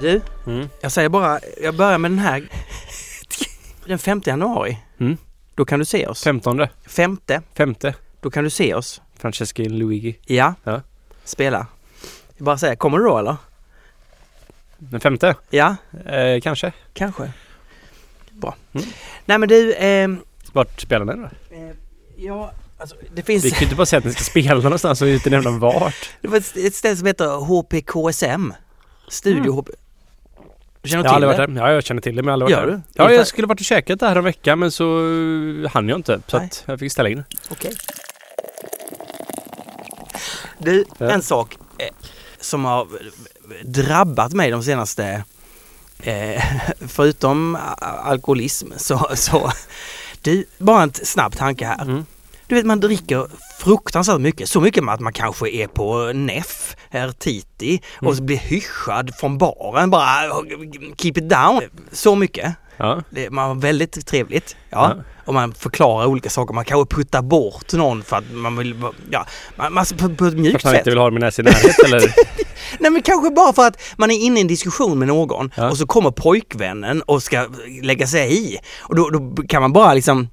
Du, Mm. jag säger bara, jag börjar med den här. Den 5 januari, Mm. då kan du se oss. Femtonde. Femte, Femte. då kan du se oss. Francesca Luigi. Ja. Ja. Spela. Jag bara säger, kommer du då eller? Den femte? Ja, Eh, kanske. kanske. Bra. Mm. Nej men du, ehm, Vart spelar den då? eh, ja, alltså, det finns... Vi kan ju inte bara säga att ni ska spela någonstans och inte nämna vart. Det var ett, ett ställe som heter HPKSM. Studio HP. Du känner Mm. Jag har till aldrig det? varit där. Ja, jag känner till det men jag har aldrig varit Gör där. du? Ja, Ungefär- jag skulle varit och käkat där en vecka men så eh, hann jag inte. Så Nej. att jag fick ställa in. Okej. Du, Ja. en sak eh, som har drabbat mig de senaste... Eh, förutom a- alkoholism så, så... Du, bara en t- snabb tanke här. Mm. Du vet man dricker fruktansvärt mycket, så mycket att man kanske är på NEF, Ertiti och så Mm. blir hyschad från baren bara keep it down. Så mycket. Ja. Det, man har väldigt trevligt. Ja. Ja. Och man förklarar olika saker. Man kanske puttar bort någon för att man vill... vara- Ja, man, man, på, på ett För att mjukt han sätt. inte vill ha min näsa i närheten eller? Nej men kanske bara för att man är inne i en diskussion med någon Ja. och så kommer pojkvännen och ska lägga sig i. Och då, då kan man bara liksom...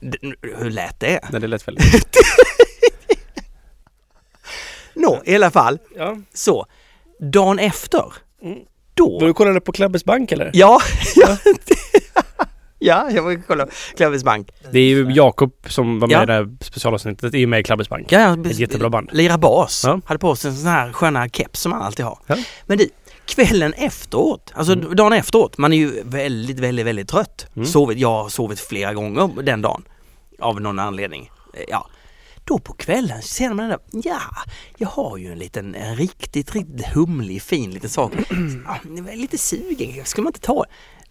d- Hur lät det? Nej, det lät väldigt... Nå, i alla fall. Ja. Så, dagen efter, Mm. då... du kollade på Klabbes bank eller? Ja, ja. ja, jag var kolla Klavis Bank. Det är ju Jakob som var med Ja. i det här specialavsnittet, är ju med i Klabbes bank. Ja, ja, Ett jättebra band. Lira bas. Ja. Hade på sig en sån här sköna keps som man alltid har. Ja. Mm. Men du, kvällen efteråt, alltså dagen efteråt, man är ju väldigt, väldigt, väldigt trött. Sovit, jag har sovit flera gånger den dagen. Av någon anledning. Eh, Ja. Då på kvällen så känner man det där, ja, jag har ju en liten, en riktigt, riktigt humlig, fin liten sak. Ja, jag är lite sugen, skulle man inte ta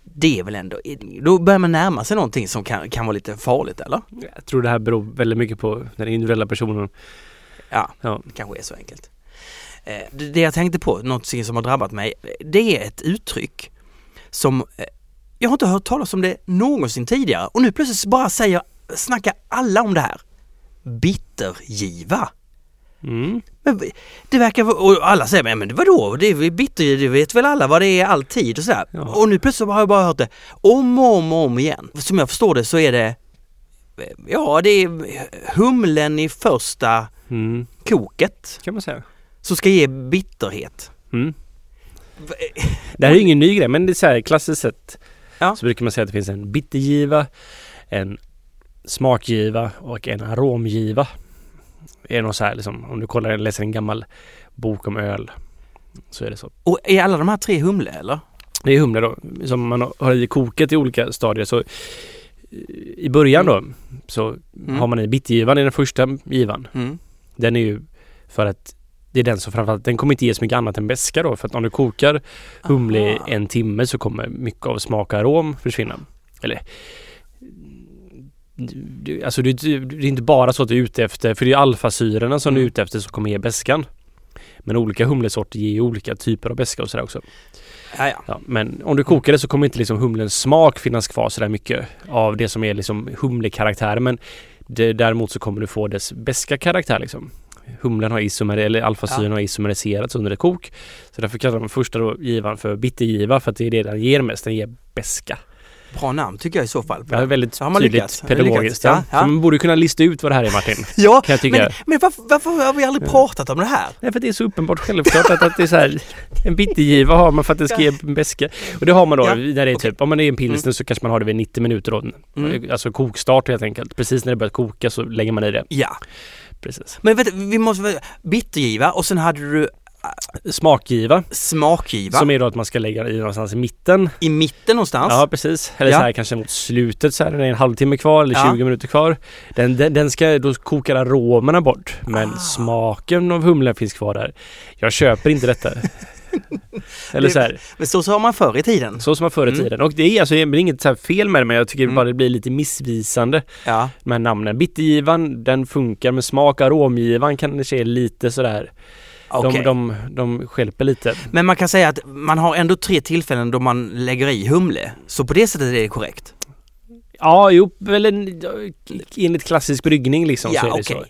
det är väl ändå, då börjar man närma sig någonting som kan, kan vara lite farligt eller? Jag tror det här beror väldigt mycket på den individuella personen. Ja, Ja. det kanske är så enkelt. Eh, Det det jag tänkte på, något som har drabbat mig, det är ett uttryck som eh, jag har inte hört talas om det någonsin tidigare och nu plötsligt bara säger, snackar alla om det här. Bittergiva. Mm. Men v- det verkar vara- och alla säger men vadå, det är väl bitter, det vet väl alla vad det är alltid och sådär. Ja. Och nu plötsligt har jag bara hört det om och om och om igen. Som jag förstår det så är det, eh, ja det är humlen i första Mm. koket Kan man säga. som ska ge bitterhet. Mm. Det här är ju ingen ny grej men det är så här klassiskt sett eh, Ja. så brukar man säga att det finns en bittergiva, en smakgiva och en aromgiva. Det är något så här liksom, om du kollar, läser en gammal bok om öl så är det så. Och är alla de här tre humle eller? Det är humle då, som man har i koket i olika stadier. Så eh, i början då så Mm. har man i bittergivan i den första givan. Mm. Den är ju för att det är den som framförallt, den kommer inte ge så mycket annat än beska då för att om du kokar humle i Aha. en timme så kommer mycket av smak och arom försvinna. Eller du, alltså det, det är inte bara så att du är ute efter, för det är alfasyrorna som du är ute efter som kommer ge beskan. Men olika humlesorter ger ju olika typer av beska och sådär också. Ja, ja. Ja, men om du kokar det så kommer inte liksom humlens smak finnas kvar så där mycket av det som är liksom humlekaraktär. Men det, däremot så kommer du få dess beska karaktär liksom. Humlen har isomer, eller alfasyren Ja. har isomeriserats under ett kok. Så därför kallar man första då givan för bittergiva för att det är det den ger mest, den ger beska. Bra namn tycker jag i så fall. Det här är väldigt Så har man tydligt lyckats. Har man lyckats? pedagogiskt. Ja, Ja, ja. Så man borde kunna lista ut vad det här är Martin. Ja, Kan jag tycka. men, men varför, varför har vi aldrig pratat om det här? Nej, för det är så uppenbart självklart att, att det är så här, en bittergiva har man för att det ska ge en beska. Och det har man då Ja, när det är typ, om man är en pilsner så kanske man har det vid 90 minuter då. Mm. Alltså kokstart helt enkelt. Precis när det börjar koka så lägger man i det. Ja, Precis. men vet, du, vi måste väl- bittergiva och sen hade du Smakgiva, smakgiva som är då att man ska lägga i någonstans i mitten. i mitten någonstans. Ja, precis. Eller Alltså? Ja. så här kanske mot slutet så här, när det är en halvtimme kvar eller Ja. 20 minuter kvar. Den, den, den ska, då kokar aromerna bort. Men Ah. smaken av humlen finns kvar där. Jag köper inte detta. eller Det- så här. Men så sa man förr i tiden. Så som man förr i Mm. tiden. Och det är alltså det är inget så här fel med det men jag tycker bara det blir lite missvisande Ja. de här namnen. Bittergivan, den funkar men smak och aromgivan kan det se lite sådär. okej. De, de, de skälper lite. Men man kan säga att man har ändå tre tillfällen då man lägger i humle. Så på det sättet är det korrekt. Ja, jo, väl en, enligt klassisk bryggning liksom Ja, så är det okej. så.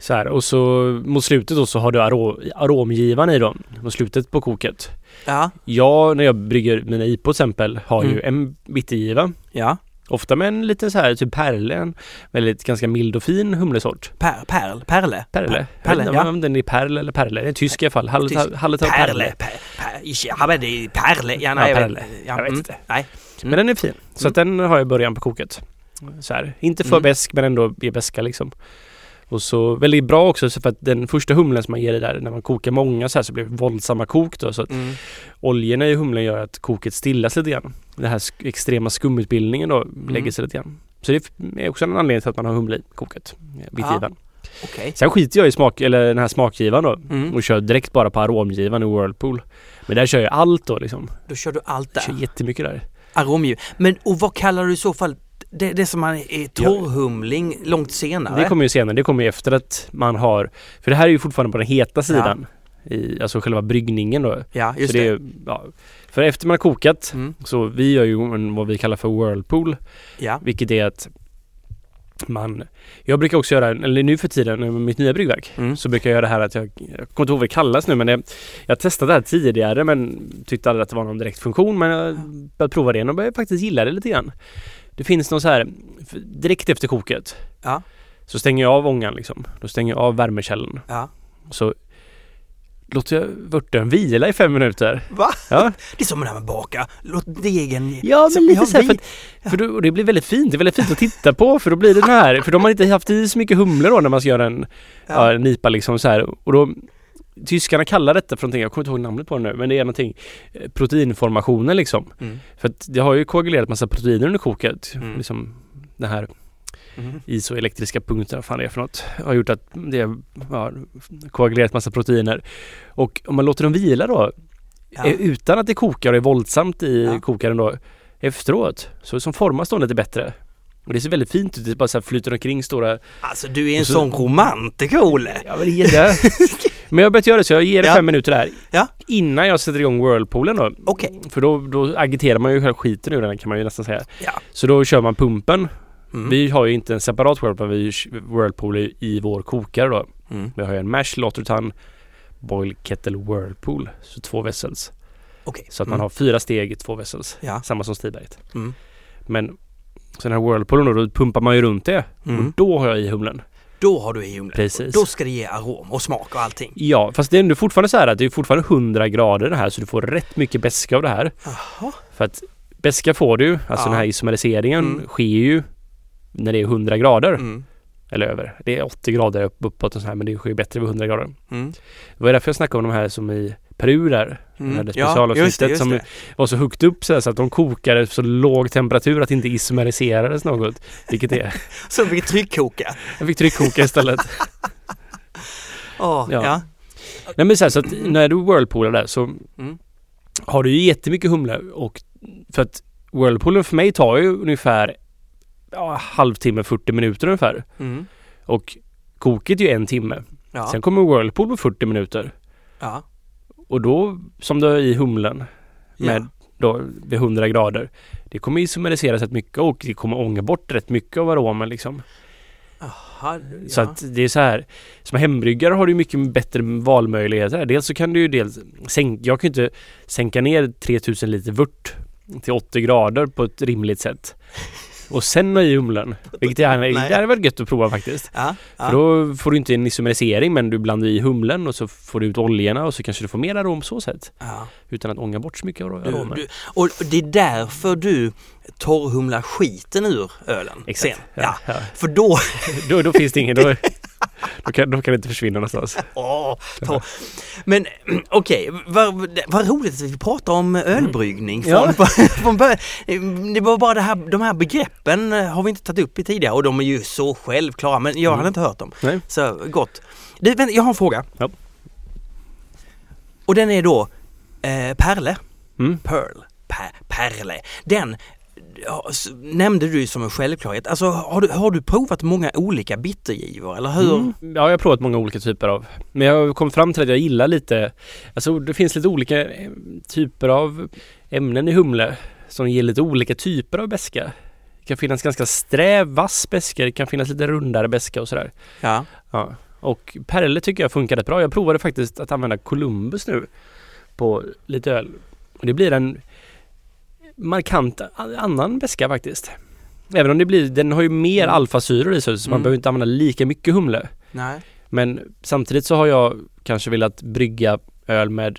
Så här, och så mot slutet då så har du aro, aromgivan i dem, mot slutet på koket. Ja, Jag, när jag brygger mina IPO till exempel, har Mm. ju en bittergiva. ja. Ofta med en liten så här, typ perle, en väldigt ganska mild och fin humlesort. Per, perl, perle. Perle. Jag vet Perle, inte ja. om den är perle eller perle. Den är tysk i alla fall. Hallet Tysk. hallet av perle. Perle, per, per, isch, ja men det är perle. Ja, nej, Ja, jag vet- perle. Ja, Jag vet mm. inte. Nej. Men den är fin. Så Mm. att den har jag i början på koket. Så här. Inte för Mm. besk men ändå är beska liksom. Och så väldigt bra också så för att den första humlen som man ger i där när man kokar många så här så blir det våldsamma kok då. Så att Mm. oljorna i humlen gör att koket stillas lite grann. Den här sk- extrema skumutbildningen då Mm. lägger sig lite grann. Så det f- är också en anledning till att man har humle i koket. Bitgivan. Okej. Sen skiter jag i smak, eller den här smakgivan då Mm. och kör direkt bara på aromgivan i Whirlpool. Men där kör jag allt då liksom. Då kör du allt Jag kör där. jättemycket där. Aromljus. Men och vad kallar du i så fall det, det som man är torrhumling långt senare? Det kommer ju senare, det kommer ju efter att man har, för det här är ju fortfarande på den heta sidan. I, alltså själva bryggningen då. Ja, just så det. det. Är, ja, för efter man har kokat, Mm. så vi gör ju en, vad vi kallar för whirlpool, Ja. vilket är att man, jag brukar också göra, eller nu för tiden med mitt nya bryggverk, Mm. så brukar jag göra det här att jag, jag kommer inte ihåg vad det kallas nu men det, jag har testat det här tidigare men tyckte aldrig att det var någon direkt funktion men jag började prova det igen och började faktiskt gilla det lite grann. Det finns någon så här, f- direkt efter koket Ja. så stänger jag av ångan liksom. Då stänger jag av värmekällan. Ja. Så låter jag vörten vila i fem minuter. Va? Ja. Det är som det här med baka. Låt degen... Ja, men lite så här, vi- för, att, för då, och det blir väldigt fint. Det är väldigt fint att titta på för då blir det den här, för de har inte haft i så mycket humlor då när man ska göra en, ja. Ja. en IPA liksom så här. Och då, tyskarna kallar detta för någonting, jag kommer inte ihåg namnet på det nu, men det är någonting, eh, proteinformationen liksom. Mm. För att det har ju koagulerat massa proteiner under koket, Mm. liksom den här Mm. isoelektriska punkter, vad fan det är för något, har gjort att det har ja, koagulerat massa proteiner. Och om man låter dem vila då, Ja. eh, utan att det kokar och är våldsamt i Ja. kokaren då, efteråt, så som formas de lite bättre. Och det ser väldigt fint ut, det bara så här flyter omkring stora... Alltså du är en Och så- sån romantiker Olle. Ja, men det är det. men jag har börjat göra det så, jag ger det Ja. fem minuter där. Ja. Innan jag sätter igång whirlpoolen då. Okej. För då, då agiterar man ju själv skiten ur den kan man ju nästan säga. Ja. Så då kör man pumpen. Mm. Vi har ju inte en separat whirlpool, vi whirlpool i- i vår kokare då. Mm. Vi har ju en mash, Lottertan, boil, kettle, whirlpool. Så två vessels. Okej. Så att Mm. man har fyra steg i två vessels. Ja. Samma som Stiberget. Mm. Men så den här whirlpoolen då, då pumpar man ju runt det. Mm. Och då har jag i humlen. Då har du i humlen. Precis. Då ska det ge arom och smak och allting. Ja, fast det är ändå fortfarande så här att det är fortfarande 100 grader det här så du får rätt mycket beska av det här. Jaha. För att beska får du, alltså Ja. den här isomeriseringen Mm. sker ju när det är 100 grader Mm. eller över. Det är 80 grader upp, uppåt och så här men det sker ju bättre vid 100 grader. Mm. Det var därför jag snackade om de här som i Peru där Mm. hade Ja, just det, specialavsnittet just som det. var så högt upp så, här, så att de kokade så låg temperatur att det inte isomeriserades något. Vilket är. Så vi tryckkoka. Jag fick tryckkoka istället. Oh, Ja. ja. Ja. Nej men så, här, så att när du whirlpoolar där så Mm. har du ju jättemycket humle och för att whirlpoolen för mig tar ju ungefär ja, halvtimme, 40 minuter ungefär. Mm. Och koket är ju en timme. Ja. Sen kommer whirlpool på 40 minuter. ja. Och då, som du har i humlen med Ja. då vid 100 grader. Det kommer isomeriseras rätt mycket och det kommer ånga bort rätt mycket av aromen liksom. Aha, Så ja. att det är så här. Som hembryggare har du mycket bättre valmöjligheter. här. Dels så kan du ju dels sänka, jag kan ju inte sänka ner 3000 liter vört till 80 grader på ett rimligt sätt. Och sen ha i humlen. Vilket är, Nej. det här är väl gött att prova faktiskt. Ja, För ja. då får du inte en isomerisering men du blandar i humlen och så får du ut oljorna och så kanske du får mer arom så sett. ja. Utan att ånga bort så mycket av Du, aromen. du, och det är därför du torrhumlar skiten ur ölen Exakt. sen. Ja. Ja, ja. För då... Då, då finns det ingen, då, då, kan, då kan det inte försvinna någonstans. Åh, torr. Men okej, vad, vad roligt att vi pratar om ölbryggning. Mm. Ja. Från, från början. Det var bara det här, de här begreppen har vi inte tagit upp i tidigare och de är ju så självklara men jag hade inte hört dem. Mm. Nej. Så gott. Du, vänta, jag har en fråga. Ja. Och den är då eh, Perle. Mm. Pearl. Per, perle. Den ja, s- nämnde du som en självklarhet. Alltså har du, har du provat många olika bittergivor eller hur? Mm. Ja, jag har provat många olika typer av. Men jag kom fram till att jag gillar lite, alltså det finns lite olika eh, typer av ämnen i humle som ger lite olika typer av beska. Det kan finnas ganska sträv, vass beska, det kan finnas lite rundare beska och sådär. Ja. Ja. Och Perle tycker jag funkar rätt bra. Jag provade faktiskt att använda Columbus nu på lite öl. Och det blir en markant a- annan väska faktiskt. Även om det blir, den har ju mer Mm. alfasyror i sig så man Mm. behöver inte använda lika mycket humle. Nej. Men samtidigt så har jag kanske velat brygga öl med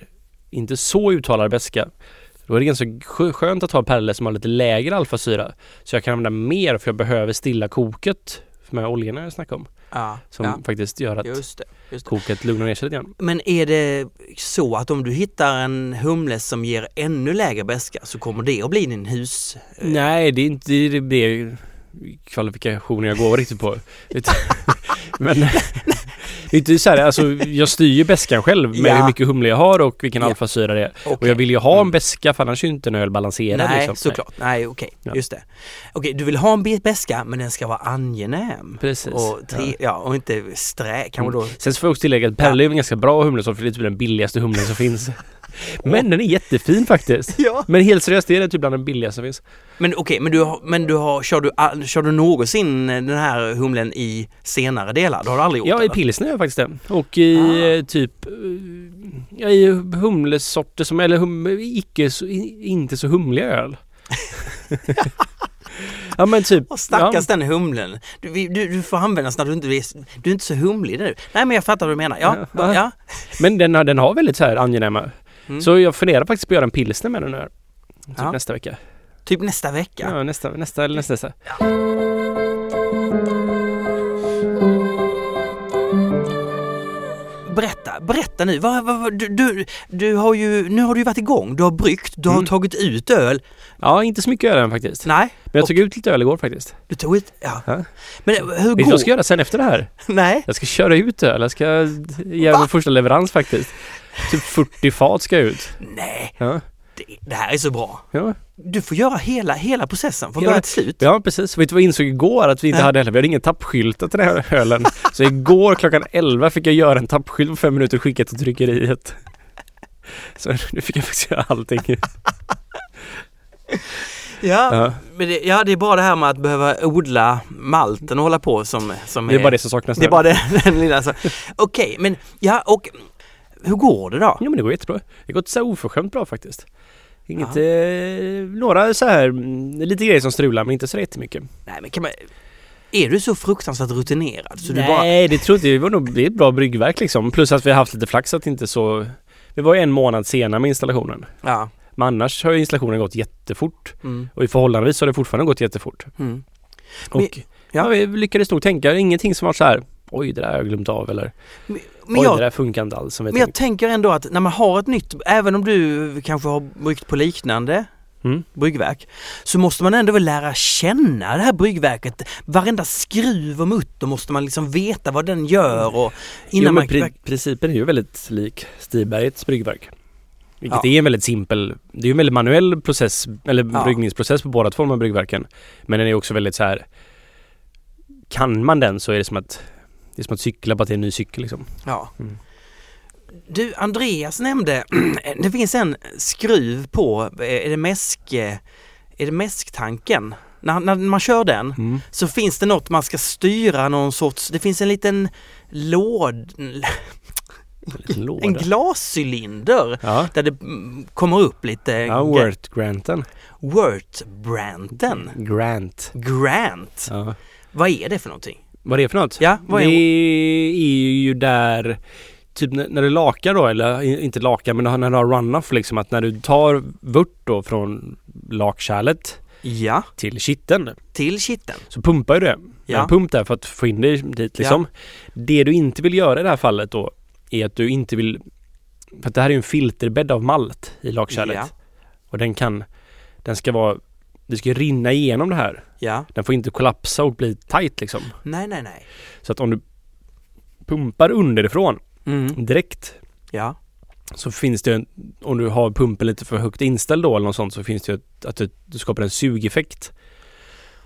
inte så uttalad väska. Då är det ganska skö- skönt att ha Perle som har lite lägre alfasyra. Så jag kan använda mer för jag behöver stilla koket med oljorna jag snackade om. Ja. Som ja. faktiskt gör att Just det. Just det. koket lugnar ner sig lite grann. Men är det så att om du hittar en humle som ger ännu lägre beska så kommer det att bli din hus... eh, Nej, det är inte det, är det kvalifikationer jag går riktigt på. Utan- men det är inte så här, alltså, jag styr ju beskan själv med Ja. hur mycket humle jag har och vilken Ja. alfasyra det är. Och okej. jag vill ju ha en Mm. beska för annars är ju inte en öl balanserad. Nej, liksom. såklart. Nej, okej. Ja. Just det. Okej, du vill ha en bit beska men den ska vara angenäm. Precis. Mm. Och, tre, ja. och inte strä, kanske då... Sen så får jag också tillägga att Perle är en ganska bra humlesort för det är typ den billigaste humlen som finns. Men den är jättefin faktiskt. Ja. Men helt seriöst, det är typ bland den billigaste som finns. Men okej, men, du, har- men du har, kör, du, all- kör du någonsin den här humlen i senare delar? Det har du aldrig gjort? Ja, i eller? pilsner gör jag faktiskt det. Och i Ah. eh, typ eh, ja, i humlesorter som, eller hum, icke, så, i- inte så humliga öl. ja men typ. Och stackars ja. den humlen. Du, vi- du, du får användas när du inte är, du är inte så humlig nu. Nej men jag fattar vad du menar. Ja, Ja. ja. ja. Men den, har- den har väldigt så här angenäma. Mm. Så jag funderar faktiskt på att göra en pilsner med den här. Typ Ja. nästa vecka. Typ nästa vecka. Ja, nästa, nästa eller nästa, nästa. Berätta, berätta nu. Vad, vad, vad, du, du, du har ju, nu har du ju varit igång. Du har bryggt, du har Mm. tagit ut öl. Ja, inte så mycket öl än faktiskt. Nej, Men jag tog ut lite öl igår faktiskt. du tog ut, ja. Ja. Men eh, hur Vet du vad går jag ska göra sen efter det här? Nej, Jag ska köra ut öl. Jag ska göra vår första leverans faktiskt. Typ 40 fat ska jag ut. nej. Ja. Det, det här är så bra. Ja. Du får göra hela, hela processen från Hela- början till slut. Ja precis, vet du vad jag insåg igår att vi inte Nej. hade heller? Vi hade ingen tappskyltar till den här ölen. Så igår klockan 11 fick jag göra en tappskylt på fem minuter och skicka till tryckeriet. Så nu fick jag faktiskt göra allting. Ja, Ja. men det, ja, det är bara det här med att behöva odla malten och hålla på som, som Det är bara det som saknas Det är nu. bara den, den lilla så. Okej, men ja och hur går det då? Ja men det går jättebra. Det har gått så här oförskämt bra faktiskt. Inget, eh, några så här, mm, lite grejer som strular men inte så jättemycket. Nej men kan man, är du så fruktansvärt rutinerad så du bara... Nej, det tror inte jag. Det var nog det är ett bra bryggverk liksom. Plus att vi har haft lite flax att inte så... Vi var ju en månad sena med installationen. Ja. Men annars har ju installationen gått jättefort. Mm, Och i förhållandevis så har det fortfarande gått jättefort. mm. Och Men- ja. ja. vi lyckades nog tänka ingenting som var så här Oj det där har jag glömt av eller Men, Oj jag, det där funkar inte alls som vi men jag tänkte. tänker ändå att när man har ett nytt, även om du kanske har bryggt på liknande Mm. bryggverk, så måste man ändå väl lära känna det här bryggverket. Varenda skruv och mutter måste man liksom veta vad den gör och innan jo, men man... pri- principen är ju väldigt lik Stibergets bryggverk. Vilket Ja. är en väldigt simpel, det är ju en väldigt manuell process eller Ja. bryggningsprocess på båda två de här bryggverken. Men den är också väldigt så här Kan man den så är det som att Det är som att cykla på att det är en ny cykel liksom. Ja. Mm. Du, Andreas nämnde, det finns en skruv på, är det mäsk, är det mäsktanken? När, när man kör den Mm. så finns det något man ska styra någon sorts, det finns en liten låd, En liten låda. en glascylinder ja. där det mm, kommer upp lite ja, Wurt-granten. Wurt-branten. Grant. Grant, Ja. vad är det för någonting? Vad är det för något? Ja, vad är det är ju där Typ när när du lakar då, eller i- inte lakar men när du har runoff liksom att när du tar vört då från lakkärlet Ja, till kitteln till kitteln. så pumpar ju det. Ja. Ja. En pump där för att få in det dit liksom. Det du inte vill göra i det här fallet då är att du inte vill för att det här är ju en filterbädd av malt i lakkärlet. Ja. Och den kan den ska vara det ska ju rinna igenom det här. Ja, Den får inte kollapsa och bli tight liksom. nej, nej, nej. Så att om du pumpar underifrån Mm. direkt Ja, så finns det, en, om du har pumpen lite för högt inställd då eller något sånt så finns det ju ett- att du, du skapar en sugeffekt.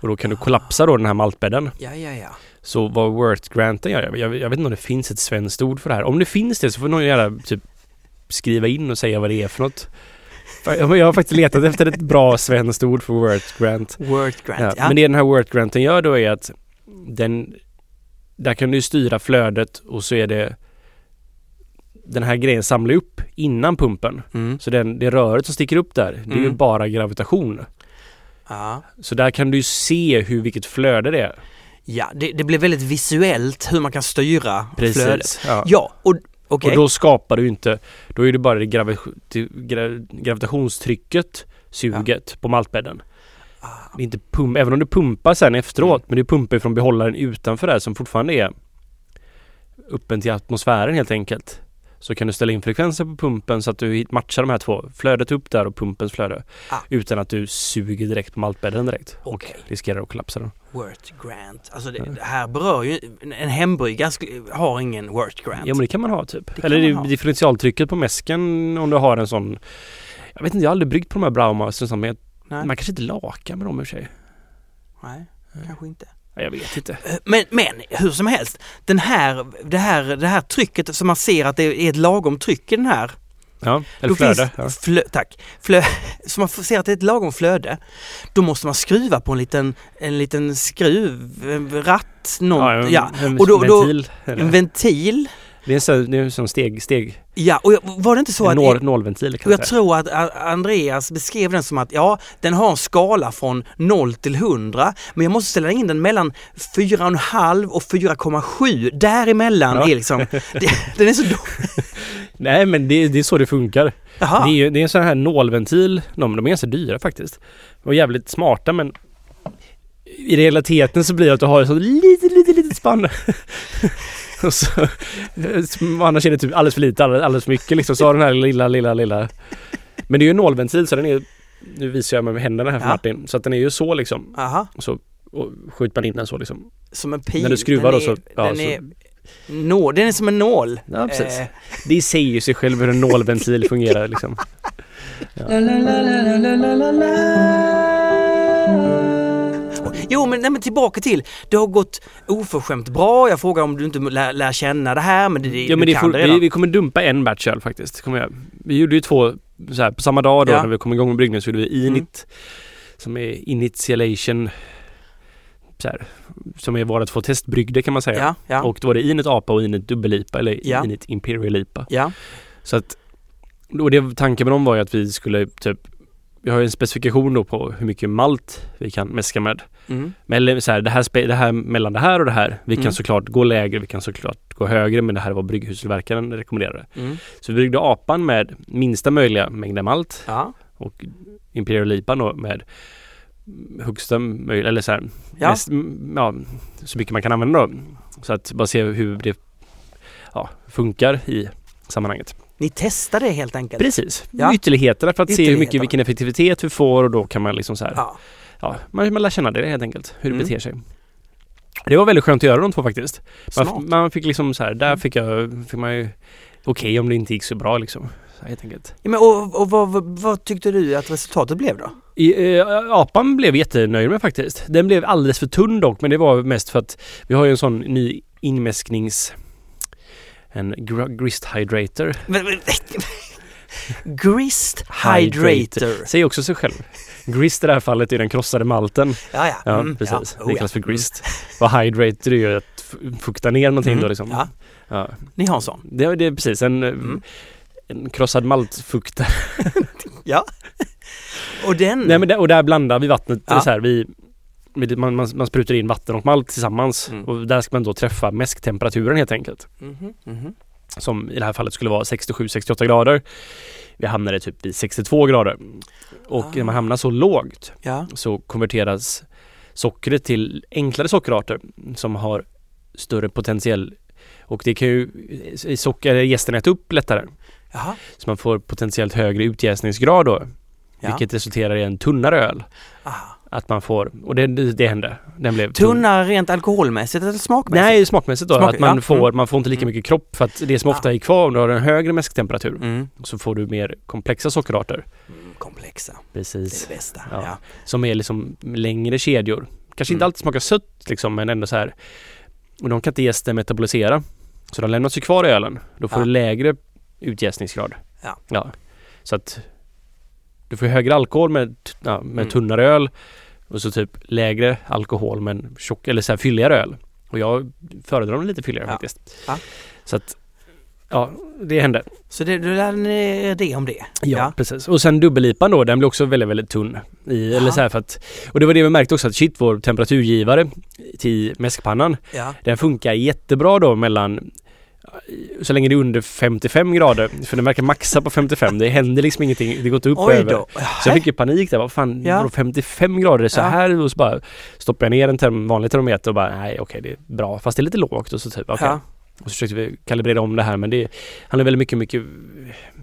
Och då kan du kollapsa då den här maltbädden. ja, ja, ja. Så vad worth granten gör, jag, jag vet inte om det finns ett svenskt ord för det här. Om det finns det så får någon gärna typ skriva in och säga vad det är för något. För Jag jag har faktiskt letat efter ett bra svenskt ord för worth grant. Word Ja, Grant, ja. Men det den här worth granten gör då är att den där kan du ju styra flödet och så är det den här grejen samlar ju upp innan pumpen. Mm. Så den, det röret som sticker upp där, det är ju Mm. bara gravitation. Ja. Så där kan du ju se hur, vilket flöde det är. Ja, det, det blir väldigt visuellt hur man kan styra flödet. Ja. Ja, och okej. Och då skapar du inte, då är det bara det gravi, det gra, gravitationstrycket, suget på maltbädden. Ah, Det är inte pump, även om du pumpar sen efteråt, Mm. men du pumpar ju från behållaren utanför där som fortfarande är öppen till atmosfären helt enkelt. Så kan du ställa in frekvenser på pumpen så att du hit- matchar de här två, flödet upp där och pumpens flöde. Ah. Utan att du suger direkt på maltbädden direkt och Okej. riskerar att kollapsa den. Wort Grant. Alltså det, det här berör ju, en hembryggare sk- har ingen Wort Grant. Ja men det kan man ha typ. Det kan Eller man det- ha. differentialtrycket på mäsken om du har en sån Jag vet inte, jag har aldrig bryggt på de här Braumas och sånt, men jag, Nej. man kanske inte lakar med dem i och för sig. Nej, kanske inte. Ja, Jag vet inte. Eh, Men, men hur som helst, den här, det, här, det här trycket som man ser att det är ett lagom tryck i den här. Ja, eller då flöde. Ja. Finns, flö, tack. Flö, så man får se att det är ett lagom flöde. Då måste man skruva på en liten, en liten skruv, en ratt, någon, ja, en, En, Och då- då- ventil, eller- en ventil. det är en sån, det är en sån steg, steg. Ja, och jag, var det inte så en att... nål, nålventil Och kan jag jag säga. tror att A- Andreas beskrev den som att ja, den har en skala från 0 till 100 men jag måste ställa in den mellan 4,5 och 4,7. Däremellan Ja. är liksom, det, den är så dålig. Nej men det, det är så det funkar. Det, är, Jaha, ju- det är en sån här nålventil. De, de är ganska dyra faktiskt. De är jävligt smarta men i realiteten så blir det att du har ett sånt litet, litet, litet spann. och så, annars är det typ alldeles för lite, alldeles, alldeles för mycket liksom. Så har den här lilla, lilla, lilla. Men det är ju en nålventil så den är nu visar jag med händerna här för Ja. Martin, så att den är ju så liksom. aha, Så och skjuter man in den så liksom. som en pil. När du skruvar den då så- Är, ja, den, så- Är, nå, den är som en nål. Ja, precis. Eh, Det säger ju sig själv hur en nålventil fungerar liksom. Jo men, nej, men tillbaka till, det har gått oförskämt bra. Jag frågar om du inte lär, lär känna det här men det, det, Ja men du kan det får, det vi, redan. vi kommer dumpa en batch öl faktiskt. Kommer jag. Vi gjorde ju två så här, på samma dag då Ja. Mm. när vi kom igång med bryggningen så gjorde vi Init som är Initialation så här, som är våra två testbrygder kan man säga. ja, ja, Och då var det Init APA och Init Dubbel-IPA eller Ja. Init Imperial IPA. ja, Så att och det, tanken med dem var ju att vi skulle typ vi har ju en specifikation då på hur mycket malt vi kan mäska med. mm, Men eller så här, det, här, spe- det här mellan det här och det här. Vi kan Mm. såklart gå lägre, vi kan såklart gå högre men det här var brygghustillverkaren rekommenderade. mm, Så vi bryggde apan med minsta möjliga mängd malt ja, och Imperial IPA då med högsta möjliga, eller så här, ja. mest, m- ja, så mycket man kan använda då. Så att bara se hur det ja, funkar i sammanhanget. Ni testar det helt enkelt? Precis, Ja. ytterligheterna för att se hur mycket, Ytterligheterna. vilken effektivitet vi får och då kan man liksom så här, ja. Ja. man, man lär känna det helt enkelt, hur det Mm. beter sig. Det var väldigt skönt att göra de två faktiskt. Man, Smart. f- man fick liksom så här, där Mm. fick jag, fick man ju okej om det inte gick så bra liksom. Så här, helt enkelt. Ja, men och och vad, vad, vad tyckte du att resultatet blev då? I, eh, apan blev jättenöjd med faktiskt. Den blev alldeles för tunn dock, men det var mest för att vi har ju en sån ny inmäsknings... En gr- grist hydrator. Men- men- Grist Hydrator. Säger också sig själv. Grist i det här fallet är den krossade malten. Ja, ja. Ja, Mm, precis. ja. Oh, Det ja. kallas för grist. Och hydrator är ju att f- fukta ner någonting Mm. då liksom. Ja, Ja. ni har en sån. Det, det är precis en, eh, Mm. en krossad maltfuktare. Och den... Nej, men där, och där blandar vi vattnet Ja. så här. Vi, med- man, man, man sprutar in vatten och malt tillsammans Mm. och där ska man då träffa mäsktemperaturen helt enkelt. Mhm, mhm. Som i det här fallet skulle vara 67-68 grader. Vi hamnade typ vid 62 grader. Och Ah. när man hamnar så lågt Ja, så konverteras sockret till enklare sockerarter som har större potentiell och det kan ju socker, gästen äta upp lättare. jaha. Så man får potentiellt högre utjäsningsgrad då, Ja. vilket resulterar i en tunnare öl. Aha. Att man får, och det, det, det hände. Den blev tunn. Tunna rent alkoholmässigt eller smakmässigt? Nej, smakmässigt då. Smak- att man, ja, får, mm. man får inte lika mycket kropp för att det som ofta är kvar om du har en högre mäsktemperatur Mm. så får du mer komplexa sockerarter. Mm, Komplexa, det är Precis. det bästa. Ja. Ja. Som är liksom längre kedjor. Kanske inte Mm. alltid smakar sött liksom men ändå så här. Och de kan inte jästen metabolisera. Så de lämnas ju kvar i ölen. Då får Ja. du lägre utjäsningsgrad. Ja. Så att du får högre alkohol med, t- ja, med Mm. tunnare öl och så typ lägre alkohol men tjock, eller så här fylligare öl. Och jag föredrar dem lite fylligare Ja. faktiskt. Ja. Så att, ja, det hände. Så det, det där är det om det. Ja, precis. Och sen dubbellipan då, den blir också väldigt, väldigt tunn. I, eller Ja. så här för att, och det var det vi märkte också att shit, vår temperaturgivare till mäskpannan, ja. den funkar jättebra då mellan så länge det är under 55 grader, för den verkar maxa på 55. Det händer liksom ingenting, det går inte upp och Oj över. då. Så jag fick ju panik där, vad fan, Ja. vadå 55 grader så Ja. här? Och så bara stoppade jag ner en term, vanlig termometer och bara nej okej det är bra, fast det är lite lågt och så typ okej. Ja. Och så försökte vi kalibrera om det här men det handlar väldigt mycket, mycket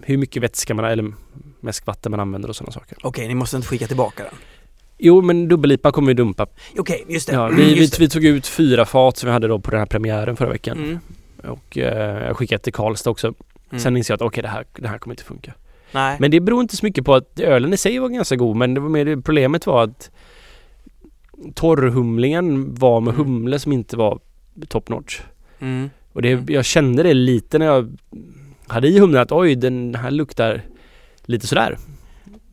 hur mycket vätska man eller mäskvatten man använder och sådana saker. Okej, ni måste inte skicka tillbaka den. Jo men dubbellipa kommer vi dumpa. Okej, just det. Ja, vi, vi, just vi tog ut fyra fat som vi hade då på den här premiären förra det. veckan. Mm. Och eh, jag skickade till Karlstad också. Mm. Sen inser jag att okej det, här, det här kommer inte funka. Nej. Men det beror inte så mycket på att ölen i sig var ganska god men det var mer problemet var att torrhumlingen var med Mm. humle som inte var top notch. Mm. Och det, Mm. jag kände det lite när jag hade i humlen att oj den här luktar lite sådär.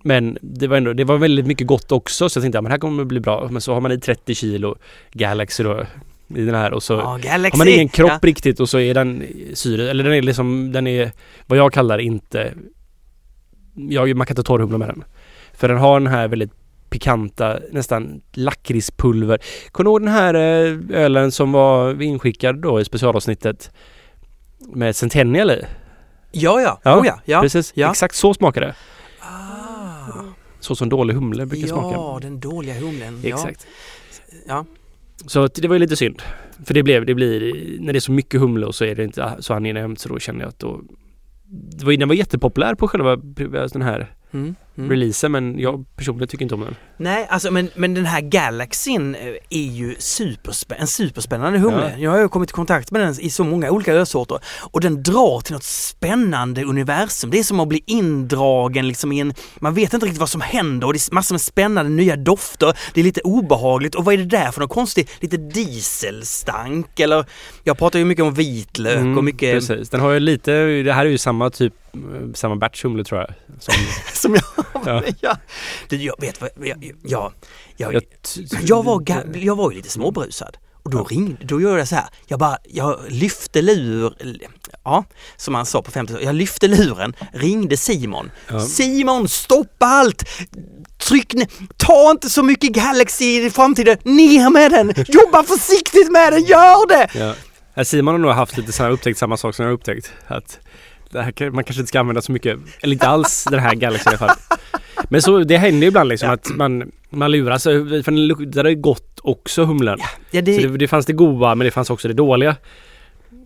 Men det var ändå, det var väldigt mycket gott också så jag tänkte ja, men det här kommer att bli bra. Men så har man i 30 kilo Galaxy då i den här och så Ja, Galaxy. har man ingen kropp Ja. riktigt och så är den syre, eller den är liksom, den är vad jag kallar inte, jag, man kan inte torrhumla med den. För den har den här väldigt pikanta, nästan lakritspulver. Kommer du ihåg den här eh, ölen som var inskickad då i specialavsnittet? Med Centennial i? Ja, ja. Ja. Oh, ja. ja. Precis, ja. exakt så smakar det. Ah. Så som dålig humle brukar Ja, smaka. den dåliga humlen. Exakt. Ja. Ja. Så att det var ju lite synd. För det blev, det blir, när det är så mycket humle och så är det inte så angenämt så då känner jag att då det var, den var jättepopulär på själva alltså den här Mm. Mm. releasen men jag personligen tycker inte om den. Nej, alltså men, men den här Galaxin eh, är ju superspä- en superspännande humle. Ja. Jag har ju kommit i kontakt med den i så många olika ölsorter och den drar till något spännande universum. Det är som att bli indragen liksom i en, man vet inte riktigt vad som händer och det är massor med spännande nya dofter. Det är lite obehagligt och vad är det där för något konstigt? Lite dieselstank eller, jag pratar ju mycket om vitlök och mycket Mm, Precis, den har ju lite, det här är ju samma typ, eh, samma batch humle tror jag. Som, som jag... Ja. Ja. Du, jag vet vad, jag, jag, jag, jag, Jag var, ga- jag var ju lite småbrusad. Och då ringde, då gjorde jag så här. Jag bara, jag lyfte lur, ja, som man sa på 50 Jag lyfte luren, ringde Simon. Ja. Simon, stoppa allt! Tryck ner, ta inte så mycket Galaxy i framtiden, ner med den! Jobba försiktigt med den, gör det! Ja. Ja, Simon har nog haft lite samma, upptäckt samma sak som jag har upptäckt. Att det här, kan- man kanske inte ska använda så mycket, eller inte alls den här Galaxy i alla fall. Men så, det händer ju ibland liksom att man, man luras, eh, för den luktade gott också humlen. Ja, det, Så det, det fanns det goda men det fanns också det dåliga.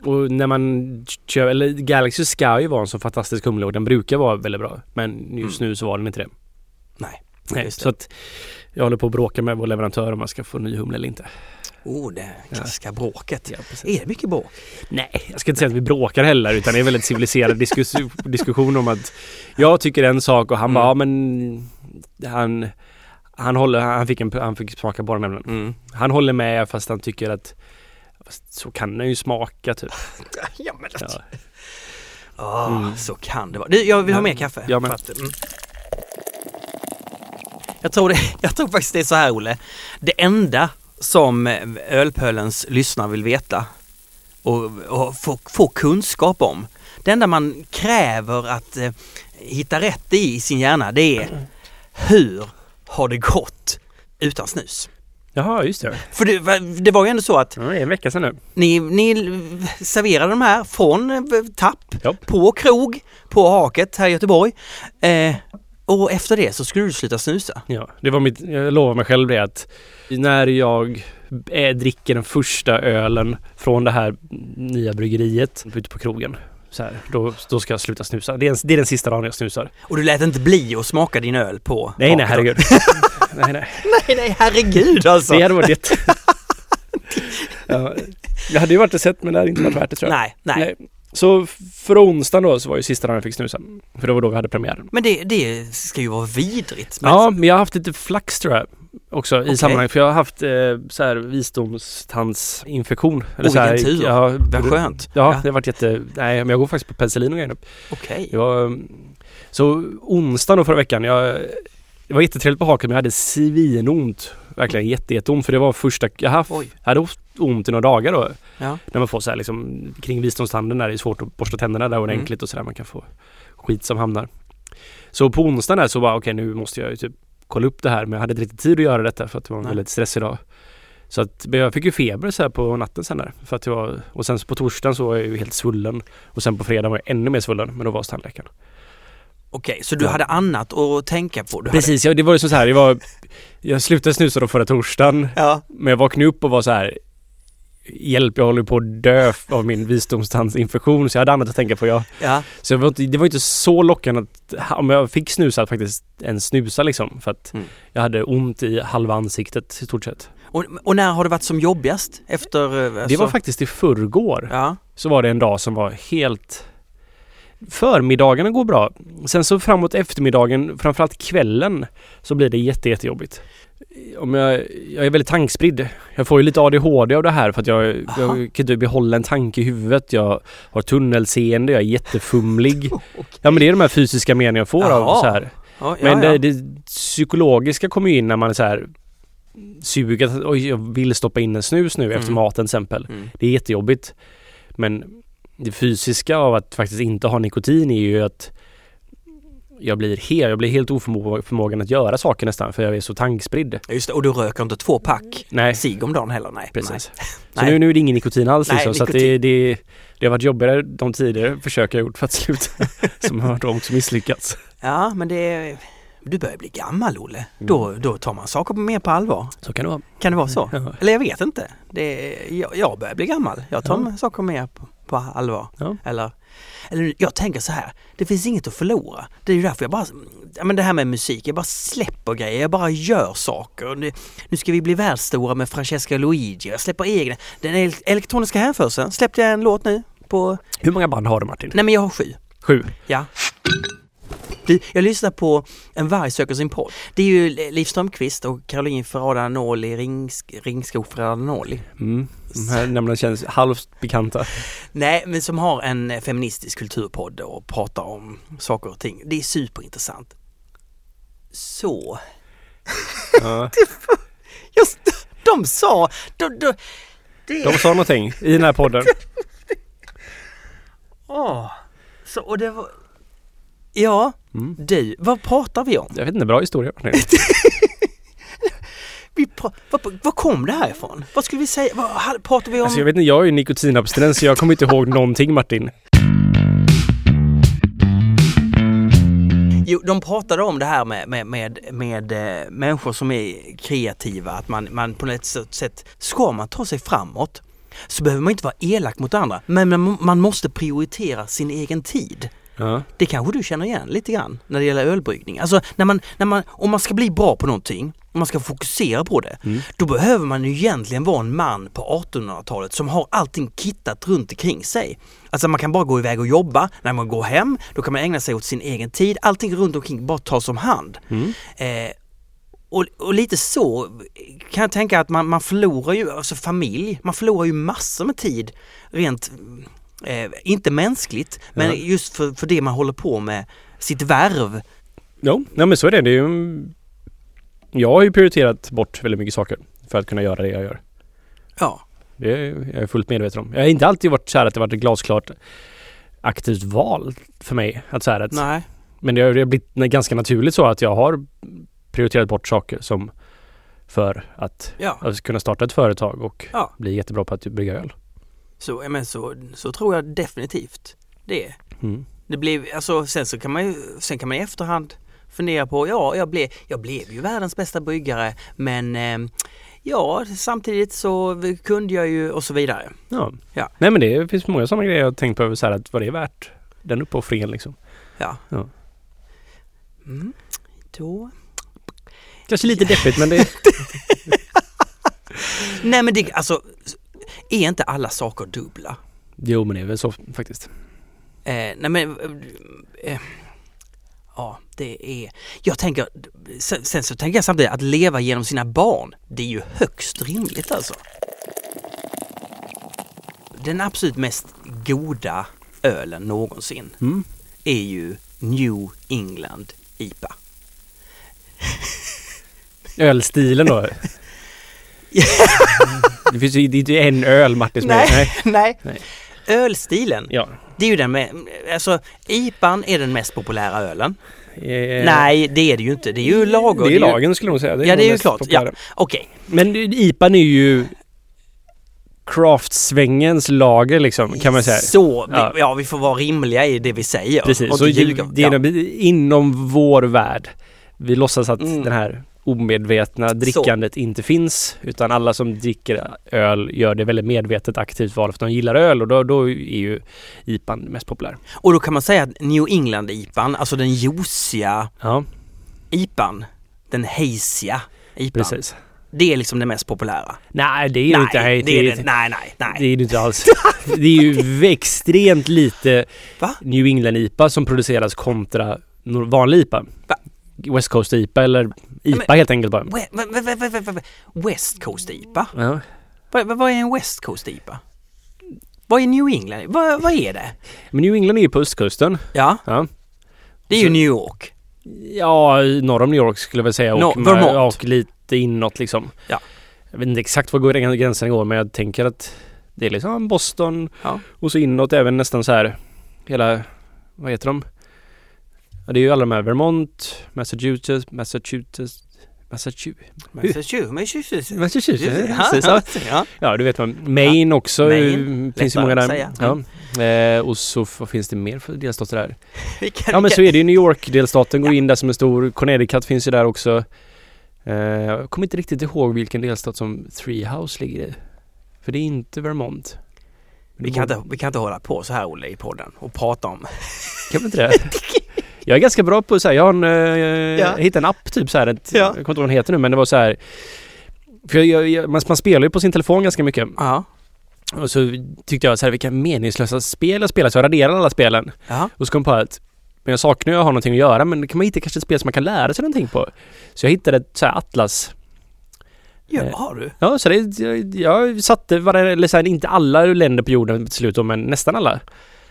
Och när man kör, eller Galaxy ska ju vara en så fantastisk humle och den brukar vara väldigt bra. Men just nu så var den inte det. Mm. nej. Nej, Just det. så att jag håller på att bråka med vår leverantör om man ska få ny humle eller inte. Oh, det klassiska bråket. Ja, precis. Är det mycket bråk? Nej, jag ska inte säga att vi bråkar heller utan det är en väldigt civiliserad diskus diskussion om att jag tycker en sak och han bara, ja men han, han håller, han fick, en, han fick smaka på den nämligen. Han håller med fast han tycker att fast så kan den ju smaka typ. Ja, men Ja. Mm. Ah, Så kan det vara. Du, jag vill ha mer Men- kaffe. Ja, men- För att, mm. jag, tror det, jag tror faktiskt det är så här Olle. Det enda som eh, Ölpölens lyssnare vill veta och, och få, få kunskap om. Det enda man kräver att eh, hitta rätt i, i sin hjärna det är hur har det gått utan snus? Jaha, just det. För det, var- det var ju ändå så att Ja, det är en vecka sedan nu. ni, ni serverade de här från eh, tapp Ja. på krog på Haket här i Göteborg. Eh, och efter det så skulle du sluta snusa. Ja, det var mitt, jag lovar mig själv det att när jag eh, dricker den första ölen från det här nya bryggeriet ute på krogen så här, då, då ska jag sluta snusa. Det är, en, det är den sista dagen jag snusar. Och du lät inte bli att smaka din öl på Nej, nej, Haket. herregud. nej, nej. Nej, nej, herregud alltså. Det hade varit jätte... ja, jag hade ju varit och sett men det hade inte varit värt det tror jag. Nej, nej. Så för onsdagen då så var ju sista dagen jag fick snusa. För det var då vi hade premiären. Men det, det ska ju vara vidrigt. Men, Ja, men jag har haft lite flax tror jag också i Okej. sammanhanget. För jag har haft eh, så här visdomstandsinfektion. Oj, så här, vilken tur. Ja, Vad skönt. Ja, Ja. det har varit jätte... Nej, men jag går faktiskt på penicillin och grejer nu. Okej. Det var, eh, så onsdagen då förra veckan, jag... Det var jättetrevligt på haken men jag hade svinont verkligen jätte, jätteont. För det var första, jag har haft, Oj. hade haft ont i några dagar då. Ja. När man får så här liksom kring visdomstanden där det är svårt att borsta tänderna där ordentligt och sådär. Man kan få skit som hamnar. Så på onsdagen där så bara okej nu måste jag ju typ kolla upp det här. Men jag hade inte riktigt tid att göra detta för att det var en Nej. väldigt stressig dag. Så att, men jag fick ju feber så här på natten sen där. För att jag var, och sen så på torsdagen så var jag ju helt svullen. Och sen på fredagen var jag ännu mer svullen. Men då var hos tandläkaren. Okej, så du Ja. hade annat att tänka på? Du Precis, ja, det var ju som så här. Det var, jag slutade snusa då förra torsdagen. Hade... Ja. Men jag vaknade upp och var så här Hjälp, jag håller på att dö av min visdomstandsinfektion så jag hade annat att tänka på. Jag, ja. så jag var inte, det var inte så lockande att om jag fick snusa att faktiskt ens snusa liksom. För att Mm. jag hade ont i halva ansiktet i stort sett. Och, och när har det varit som jobbigast? Efter... eh, Alltså... Det var faktiskt i förrgår. Ja. Så var det en dag som var helt... Förmiddagarna går bra. Sen så framåt eftermiddagen, framförallt kvällen, så blir det jätte, jättejobbigt. Om jag, jag är väldigt tankspridd. Jag får ju lite ADHD av det här för att jag, jag Aha. kan inte behålla en tanke i huvudet. Jag har tunnelseende, jag är jättefumlig. Ja men det är de här fysiska men jag får av Jaha. så här. Ja, ja, Men ja. det, det psykologiska kommer ju in när man är så här suger, att, oj jag vill stoppa in en snus nu efter Mm. maten till exempel. Mm. Det är jättejobbigt. Men det fysiska av att faktiskt inte ha nikotin är ju att jag blir, hel, jag blir helt oförmågan att göra saker nästan för jag är så tankspridd. Ja, Just det, och du röker inte två pack Nej, cigg om dagen heller? Nej. precis. Så Nej. nu, nu är det ingen nikotin alls Nej, liksom, så att det, nikotin. det, det har varit jobbigare de tidigare försök jag gjort för att sluta. som har de också misslyckats. Nej. Ja, men det... är- Du börjar bli gammal, Olle. Mm. Då, då tar man saker mer på allvar. Så kan det vara. Kan det vara så? Ja. Eller jag vet inte. Det är, jag, jag börjar bli gammal. Jag tar Ja. saker mer på, på allvar. Ja. Eller, eller jag tänker så här, det finns inget att förlora. Det är ju därför jag bara, ja, men det här med musik, jag bara släpper grejer, jag bara gör saker. Nu, nu ska vi bli världsstora med Francesca Luigi, jag släpper egna. Den el- elektroniska hänförelsen, släppte jag en låt nu på, Hur många band har du Martin? nej men jag har sju. Sju. Ja. Du, jag lyssnar på En varg söker sin podd. Det är ju Liv Strömquist och Caroline Ferrada Noli, Ringsk- Ringskog Ferrada Noli. Mm. De här namnen känns halvt bekanta. Nej, men som har en eh, feministisk kulturpodd och pratar om saker och ting. Det är superintressant. Så. Ja. Just de sa... De, de, det, De sa någonting i den här podden. Åh. Så, och det var... Ja, Mm. du, vad pratar vi om? Jag vet inte, bra historia Martin. Vi pra, vad, vad kom det här ifrån? Vad skulle vi säga? Vad hade- pratar vi om? Alltså jag vet inte, jag är ju nikotinabstinens så jag kommer inte ihåg någonting Martin. Jo, de pratade om det här med, med, med, med eh, människor som är kreativa, att man, man på något sätt- sätt, ska man ta sig framåt så behöver man inte vara elak mot andra, men man, man måste prioritera sin egen tid. Ja. Det kanske du känner igen lite grann när det gäller ölbryggning. Alltså när man, när man, om man ska bli bra på någonting, om man ska fokusera på det, Mm. då behöver man ju egentligen vara en man på 1800-talet som har allting kittat runt omkring sig. Alltså man kan bara gå iväg och jobba, när man går hem, då kan man ägna sig åt sin egen tid, allting runt omkring bara tas om hand. Mm. Eh, och, och lite så kan jag tänka att man, man förlorar ju, alltså familj, man förlorar ju massor med tid rent, eh, inte mänskligt, men Ja. just för, för det man håller på med, sitt värv. Jo, nej men så är det. det är ju... Jag har ju prioriterat bort väldigt mycket saker för att kunna göra det jag gör. Ja, Det är jag är fullt medveten om. Jag har inte alltid varit så här att det varit ett glasklart aktivt val för mig. Att så här att, nej. men det har det har blivit ganska naturligt så att jag har prioriterat bort saker som för att, Ja, att kunna starta ett företag och Ja. bli jättebra på att brygga öl. så, ja, men så, så tror jag definitivt det är. Mm. Det blev, alltså, sen så kan man ju, sen kan man i efterhand fundera på, ja jag blev, jag blev ju världens bästa bryggare men eh, ja samtidigt så kunde jag ju och så vidare. Ja. Ja. Nej men det finns många sådana grejer jag har tänkt på över så här att vad det är värt. Den uppoffringen liksom. Ja. Ja. Mm. Då. Kanske lite deppigt men det... Nej men det, alltså, är inte alla saker dubbla? jo men det är väl så faktiskt. Eh, nej men, eh, eh, ja det är, jag tänker, sen, sen så tänker jag samtidigt att leva genom sina barn, det är ju högst rimligt alltså. Den absolut mest goda ölen någonsin Mm. är ju New England IPA. Ölstilen då. Det finns ju det är inte en öl Martin som Nej. är- Nej. Nej. Nej. Ölstilen, Ja. det är ju den med, alltså IPAn är den mest populära ölen. Eh, Nej, det är det ju inte. Det är ju lager. Det är ju- ju lagen skulle jag nog säga. Ja, nog det är ju mest klart. populära. Okej, Men IPAn är ju craftsvängens lager liksom kan man säga. så. vi- Ja. Ja. vi får vara rimliga i det vi säger. Precis, Och så inte det, ljuga. det är Ja. inom- inom vår värld. Vi låtsas att Mm. den här omedvetna drickandet inte finns utan alla som dricker öl gör det väldigt medvetet aktivt val för att de gillar öl och då, då är ju IPAn mest populär. Och då kan man säga att New England-IPAn, alltså den juiciga Ja, IPAn, den haziga IPAn, precis. det är liksom det mest populära. Nej, det är ju nej, inte hej, det är det. Nej, nej, nej. Det är det inte alls. Det är ju extremt lite Va? New England-IPA som produceras kontra nor- vanlig IPA. Va? West Coast-IPA eller IPA helt enkelt bara. We- we- we- we- we- we- we- West Coast IPA? Ja. Vad vad- vad är en West Coast IPA? Vad är New England? Vad, vad är det? Men New England är ju på östkusten. Ja, Ja. det är ju New York. Ja, norr om New York skulle jag väl säga. Och, No- med- Vermont. och lite inåt liksom. Ja. Jag vet inte exakt var går grän- gränsen går men jag tänker att det är liksom Boston Ja. och så inåt även nästan så här hela, vad heter de? Ja, det är ju alla de här Vermont, Massachusetts, Massachusetts, Massachusetts. Massachusetts. Massachusetts. Ja, precis, ja. ja. Ja, du vet man. Maine också. Maine. eh, Finns ju Lätt många att där. säga. Mm. Ja. Eh, och så vad finns det mer för delstater där? Vilka, Ja men vilka- så är det ju New York-delstaten går in där som en stor. Connecticut finns ju där också. Eh, jag kommer inte riktigt ihåg vilken delstat som Treehouse ligger i. För det är inte Vermont. Men vi, det kan borde- inte, vi kan inte hålla på så här Olle i podden och prata om... Kan vi inte det? Jag är ganska bra på så här, jag har en, eh, Ja. jag hittade en app typ så här, ett, Ja. jag kommer inte ihåg vad den heter nu men det var så här för jag, jag, jag, man, man spelar ju på sin telefon ganska mycket. Ja. Och så tyckte jag så här, vilka meningslösa spel jag spelar. Så jag raderade alla spelen. Ja. Och så kom jag på att men jag saknar ju att ha någonting att göra men kan man hitta kanske ett spel som man kan lära sig någonting på. Så jag hittade ett så här atlas. Ja, Eh. har du? Ja, så det, jag, jag satte, varje- eller så här, inte alla länder på jorden till slut då, men nästan alla.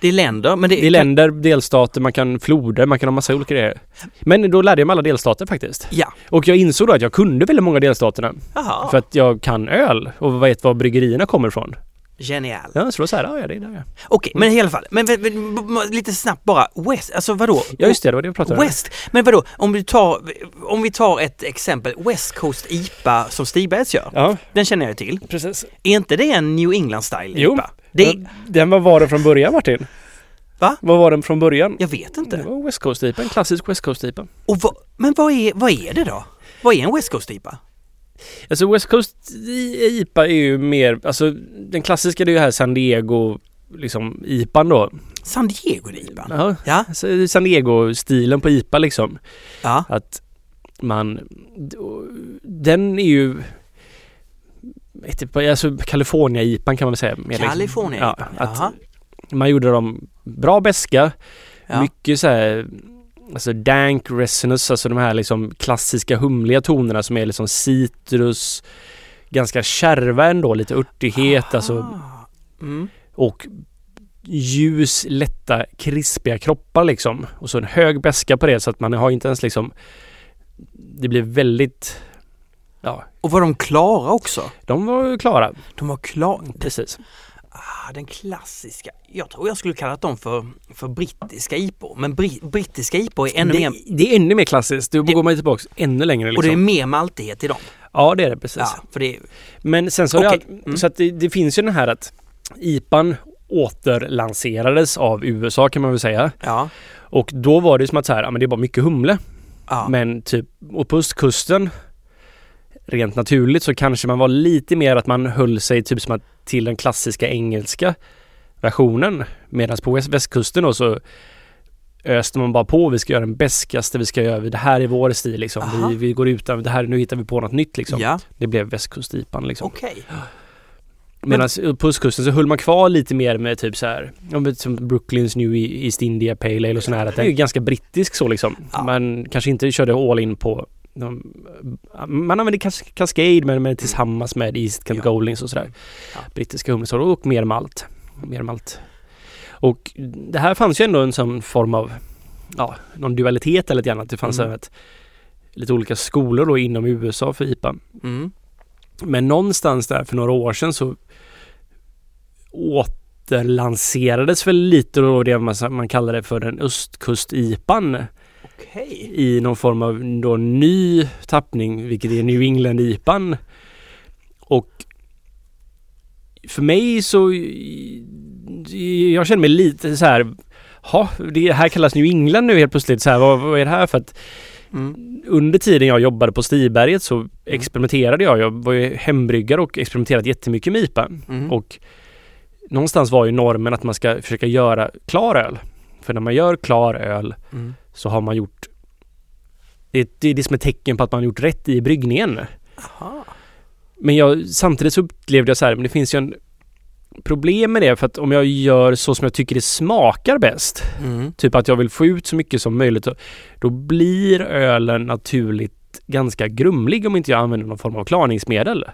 Det är länder, men det, Det är länder, delstater, man kan floder, man kan ha massa olika grejer. Men då lärde jag mig alla delstater faktiskt. Ja. Och jag insåg då att jag kunde väldigt många delstaterna. Jaha. För att jag kan öl och vet var bryggerierna kommer ifrån. Genial. Ja, så då så här, ja, ja, det är där ja. Okej, men i alla fall. Men, men, men b- b- lite snabbt bara. West, alltså vadå? Ja, just det, det var det jag pratade om. West, men vadå, om vi tar, om vi tar ett exempel, West Coast IPA som Stigbergs gör, Ja, den känner jag till. precis. Är inte det en New England style Jo. IPA? Det är, Ja, Den, vad var den från början Martin? Va? Vad var den från början? jag vet Det inte. var West Coast IPA, en klassisk West Coast IPA. Och vad, men vad är, vad är det då? Vad är en West Coast IPA? Alltså West Coast i- IPA är ju mer, alltså den klassiska det är ju här San Diego, liksom IPAn då. San Diego IPA? Ja. Ja, Alltså, San Diego-stilen på IPA liksom. ja, Att man, den är ju, vet inte, alltså California-IPAn kan man väl säga. mer liksom. California IPA. Ja, att Jaha. man gjorde dem bra beska Ja. Mycket så här, alltså dank resonance, alltså de här liksom klassiska humliga tonerna som är liksom citrus, ganska kärva ändå, lite örtighet alltså, Ah. Mm. och ljus, lätta, krispiga kroppar liksom. Och så en hög beska på det så att man har inte ens liksom, det blir väldigt, ja, Och var de klara också? de var ju klara. De var klara. Precis. Ah, den klassiska. Jag tror jag skulle kalla dem för, för brittiska IPA. Men bri, brittiska IPA är ännu det, mer... det är ännu mer klassiskt, då Det- går man ju tillbaka ännu längre liksom. Och det är mer maltighet i dem. Ja, det är det precis. Ja, för det är... Men sen så, har Okej. jag, Mm. så att det, det finns ju den här att IPAn återlanserades av USA kan man väl säga. Ja. Och då var det som att så här, ja men det är bara mycket humle. ja. Men typ, och på östkusten rent naturligt så kanske man var lite mer att man höll sig typ som att till den klassiska engelska versionen. Medan på väst, västkusten då så öste man bara på, vi ska göra den bäskaste, vi ska göra, det här är vår stil liksom. Aha. Vi, vi går utan, det här, nu hittar vi på något nytt liksom. Ja, Det blev västkust-IPan liksom. okej. Medan på östkusten så höll man kvar lite mer med typ så här, ja, men som Brooklyns New E- East India Pale Ale och sån här. Att den är ju ganska brittisk så liksom. Ja. Man kanske inte körde all in på de- man använde kas- Cascade men, men tillsammans med East Kent Ja. Goldings och sådär. Ja. Brittiska humlesor och mer malt. Mer malt. Och det här fanns ju ändå en sån form av ja, någon dualitet eller lite grann. Att det fanns Mm. mm. lite olika skolor då inom USA för IPA. Mm. Men någonstans där för några år sedan så återlanserades väl lite då det man, man kallar det för den östkust-IPan Okej. i någon form av då ny tappning, vilket är New England-IPan. Och för mig så... Jag känner mig lite så här... Ja, det här kallas New England nu helt plötsligt. Så här, vad, vad är det här för att Mm. under tiden jag jobbade på Stiberget så experimenterade jag. Jag var ju hembryggare och experimenterade jättemycket med IPA. Mm. Och någonstans var ju normen att man ska försöka göra klar öl. För när man gör klar öl Mm. så har man gjort det är, det är det som är tecken på att man har gjort rätt i bryggningen. Aha. Men jag, samtidigt så upplevde jag så här, men det finns ju en problem med det för att om jag gör så som jag tycker det smakar bäst, Mm. typ att jag vill få ut så mycket som möjligt, så- då blir ölen naturligt ganska grumlig om inte jag använder någon form av klarningsmedel.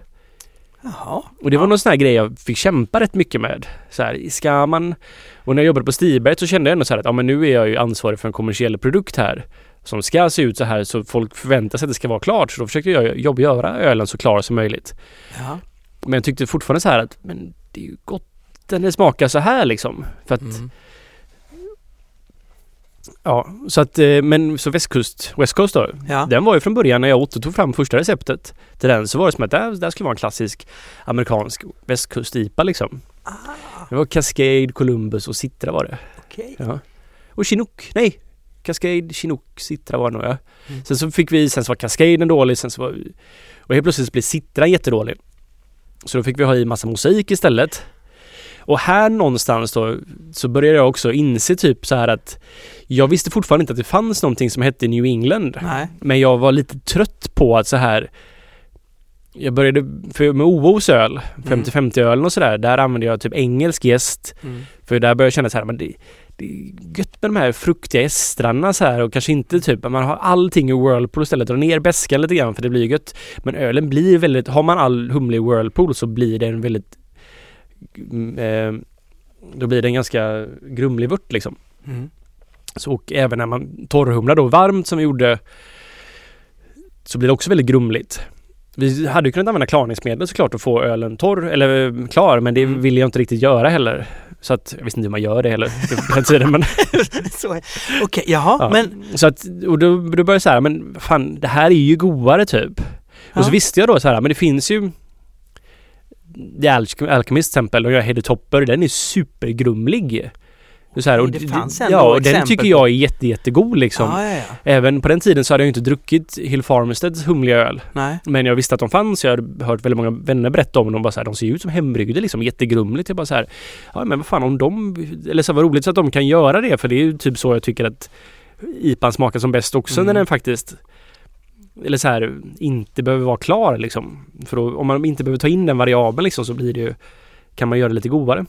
Jaha. Och det var någon sån här grej jag fick kämpa rätt mycket med. Så här, ska man... Och när jag jobbade på Stiberget så kände jag ändå så här att ja, men nu är jag ju ansvarig för en kommersiell produkt här som ska se ut så här så folk förväntar sig att det ska vara klart. Så då försökte jag jobba göra ölen så klar som möjligt. Ja. Men jag tyckte fortfarande så här att men det är ju gott när det smakar så här liksom. För att, Mm. ja, så att, eh, men så västkust, West Coast då, Ja. Den var ju från början när jag Otto tog fram första receptet till den så var det som att det här, det här skulle vara en klassisk amerikansk västkust-IPA liksom. Det var Cascade, Columbus och Citra var det. Okej. Ja. Och Chinook, nej! Cascade, Chinook, Citra var det nog ja. Mm. Sen så fick vi, sen så var Cascaden dålig, sen så var... Och helt plötsligt så blev Citra jättedålig. Så då fick vi ha i massa mosaik istället. Och här någonstans då så började jag också inse typ så här att jag visste fortfarande inte att det fanns någonting som hette New England. Nej. Men jag var lite trött på att så här Jag började för med OOs öl, 50-50 ölen och sådär, där använde jag typ engelsk gäst. Mm. För där började jag känna så här, men det, det är gött med de här fruktiga estrarna så här och kanske inte typ, man har allting i Whirlpool istället, dra ner beskan lite grann för det blir gött. Men ölen blir väldigt, har man all humle i Whirlpool så blir den väldigt mm, eh, Då blir den ganska grumlig vört liksom. Mm. Så, och även när man torrhumlar då varmt som vi gjorde så blir det också väldigt grumligt. Vi hade ju kunnat använda klarningsmedel såklart och få ölen torr eller eh, klar men det Mm. ville jag inte riktigt göra heller. Så att jag visste inte hur man gör det heller på den tiden. Men, Så är- Okej, jaha, ja. men... Så att, och då, då började jag så här, men fan det här är ju godare typ. Ja. Och så visste jag då så här, men det finns ju The Alch- Alchemist till exempel, och jag Hedde Topper, den är supergrumlig. Och Så här, och Det d- fanns d- ändå Ja, och den exempel tycker på- jag är jätte, jättegod liksom. Ja, ja, ja. Även på den tiden så hade jag inte druckit Hill Farmsteads humliga öl. Nej. Men jag visste att de fanns. Jag hade hört väldigt många vänner berätta om dem. De bara så här, de ser ju ut som hembryggde liksom. Jättegrumligt. Jag bara så här, ja men vad fan om de... Eller så här, vad roligt så att de kan göra det. För det är ju typ så jag tycker att IPAn smakar som bäst också Mm. när den faktiskt... Eller så här, inte behöver vara klar liksom. För då, om man inte behöver ta in den variabeln liksom så blir det ju... Kan man göra det lite godare.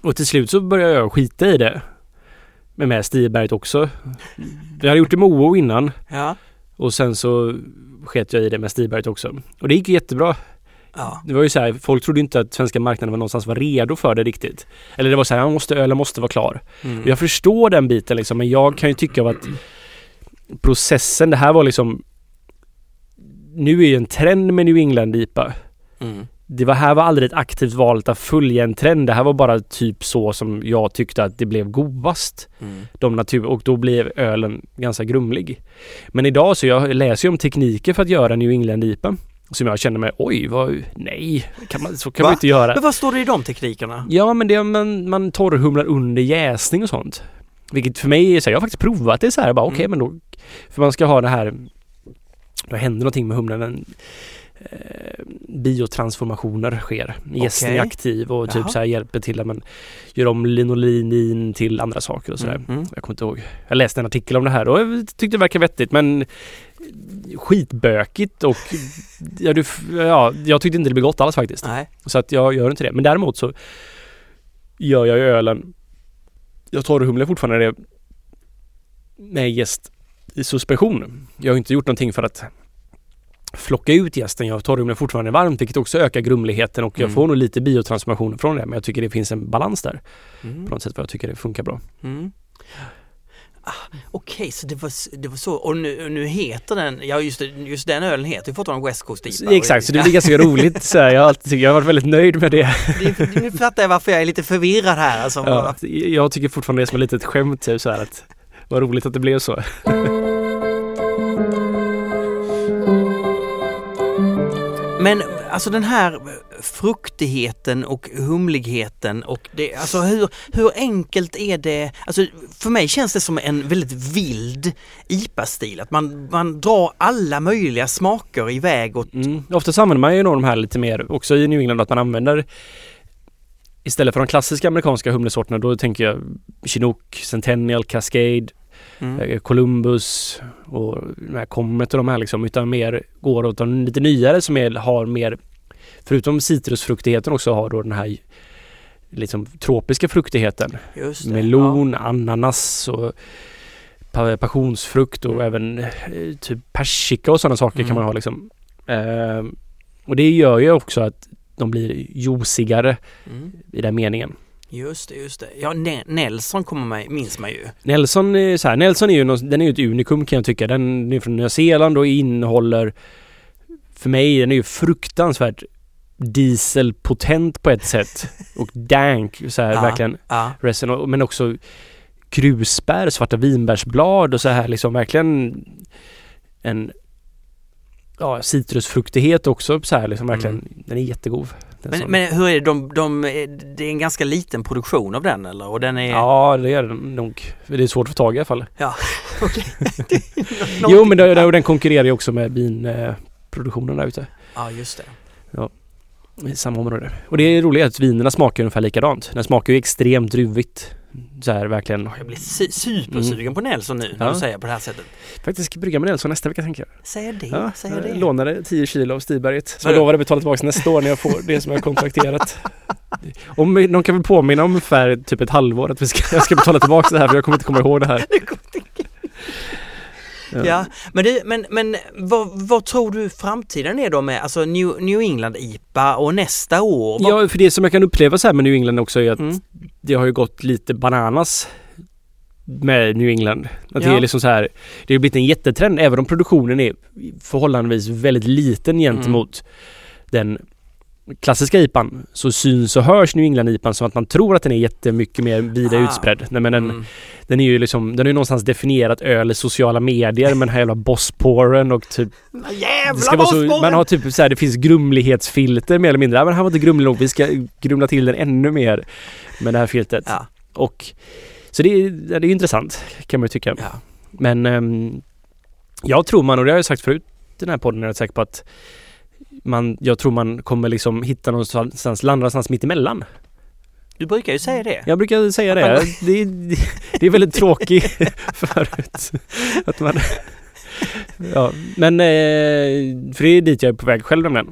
Och till slut så började jag skita i det. Men med Stiberget också. Jag hade gjort det med OO innan. Ja. Och sen så sket jag i det med Stiberget också. Och det gick ju jättebra. Ja. Det var ju så här, folk trodde inte att svenska marknaden var någonstans var redo för det riktigt. Eller det var så här, "Ja, måste, ölen måste vara klar. Mm. Jag förstår den biten liksom, men jag kan ju tycka av att processen, det här var liksom... Nu är ju en trend med New England-IPA. Mm. Det var, här var aldrig ett aktivt val att följa en trend. Det här var bara typ så som jag tyckte att det blev godast Mm. de natur och då blev ölen ganska grumlig. Men idag så jag läser ju om tekniker för att göra New England IPA som jag känner mig, oj, vad, nej, kan man, så kan Va? man inte göra. Men vad står det i de teknikerna? Ja, men det är man, man torrhumlar under jäsning och sånt. Vilket för mig är så här, jag har faktiskt provat det så här, bara okej, Mm. men då, för man ska ha det här, då händer någonting med humlen, en, eh, biotransformationer sker. Jästen Okej. är aktiv och typ Jaha. så här hjälper till att man gör om linolinin till andra saker och sådär. Mm. Mm. Jag kommer inte ihåg. Jag läste en artikel om det här och jag tyckte det verkade vettigt men skitbökigt och ja, du, ja, jag tyckte inte det blev gott alls faktiskt. Nej. Så att jag gör inte det. Men däremot så gör jag ju ölen. Jag torrhumlar fortfarande det med jäst i suspension. Jag har inte gjort någonting för att flocka ut jästen. Jag torrhumlar fortfarande varmt vilket också ökar grumligheten och jag Mm. får nog lite biotransformation från det. Men jag tycker det finns en balans där Mm. på något sätt vad jag tycker det funkar bra. Mm. Ah, Okej, okej, så det var, s- det var så. Och nu, och nu heter den, ja just, det, just den ölen heter ju fortfarande West Coast IPA. Exakt, så det blir ganska roligt så här. Jag har alltid tyckt, jag har varit väldigt nöjd med det. Det- Nu fattar jag varför jag är lite förvirrad här alltså. Ja, jag tycker fortfarande det är som ett litet skämt typ så här att vad roligt att det blev så. Men alltså den här fruktigheten och humligheten och det, alltså hur, hur enkelt är det? Alltså för mig känns det som en väldigt vild IPA-stil, att man, man drar alla möjliga smaker iväg och Mm. Oftast använder man ju nog de här lite mer också i New England att man använder istället för de klassiska amerikanska humlesorterna då tänker jag Chinook, Centennial, Cascade, mm. eh, Columbus och den här Comet och de här liksom utan mer går åt de lite nyare som är, har mer förutom citrusfruktigheten också har då den här liksom tropiska fruktigheten. just det. melon, ananas och pa- passionsfrukt och även eh, typ persika och sådana saker Mm. kan man ha liksom. Ehm, och det gör ju också att de blir juicigare Ja. Mm. i den meningen. Just det, just det. Ja, Ne- Nelson kommer man, minns man ju. Nelson är, så här, Nelson är ju, någon, den är ju ett unikum kan jag tycka. Den är från Nya Zeeland och innehåller för mig, den är ju fruktansvärt dieselpotent på ett sätt. Och dank, så här Ja. verkligen Ja. resten, och- men också krusbär, svarta vinbärsblad och så här liksom verkligen en ja, citrusfruktighet också så här liksom verkligen. Den är jättegod. Den Men, som- men hur är det, de, de, det är en ganska liten produktion av den eller? Och den är... Ja, det är den nog. Det är svårt att få tag i alla fall. Någon- Jo, men den, den konkurrerar ju också med vinproduktionen där ute Ja, just det. i samma område. Och det är roligt att vinerna smakar ungefär likadant. Den smakar ju extremt druvigt. Så här verkligen. Jag blir su- supersugen på Nelson nu när Mm. Ja. du säger på det här sättet. Faktiskt ska brygga med Nelson nästa vecka tänker jag. Säger det, Ja, säger det. jag lånade 10 kilo av Stiberget som jag Vadå? lovade att betala tillbaka nästa år när jag får det som jag har kontrakterat. Om, de kan väl påminna om ungefär typ ett halvår att vi ska, jag ska betala tillbaka det här för jag kommer inte komma ihåg det här. Det går inte. Ja, men, du, men, men vad, vad tror du framtiden är då med alltså New, New England-IPA och nästa år? Vad, Ja, för det som jag kan uppleva så här med New England också är att Mm. det har ju gått lite bananas med New England. Att det Ja. är liksom så här, det har blivit en jättetrend även om produktionen är förhållandevis väldigt liten gentemot den klassiska IPan så syns och hörs New England IPan som att man tror att den är jättemycket mer vida Ah. utspridd. Nej, men den, Mm. den är ju liksom, den är ju någonstans definierat öl i sociala medier med den här jävla bossporen och typ det ska Jävla vara så, Wolfsburg! man har typ så här, det finns grumlighetsfilter mer eller mindre. Ja, men här var inte grumlig nog, vi ska grumla till den ännu mer med det här filtret. Ja, Och, så det, är- ja, det är ju intressant kan man ju tycka. ja. Men ehm, jag tror man, och det har jag sagt förut i den här podden, jag är rätt säker på att man, jag tror man kommer liksom hitta någonstans, landa någonstans mitt emellan. Du brukar ju säga det. Jag brukar säga det. Det, det, det är väldigt tråkigt förut. Att man, ja, men eh, för det är dit jag är på väg själv nämligen.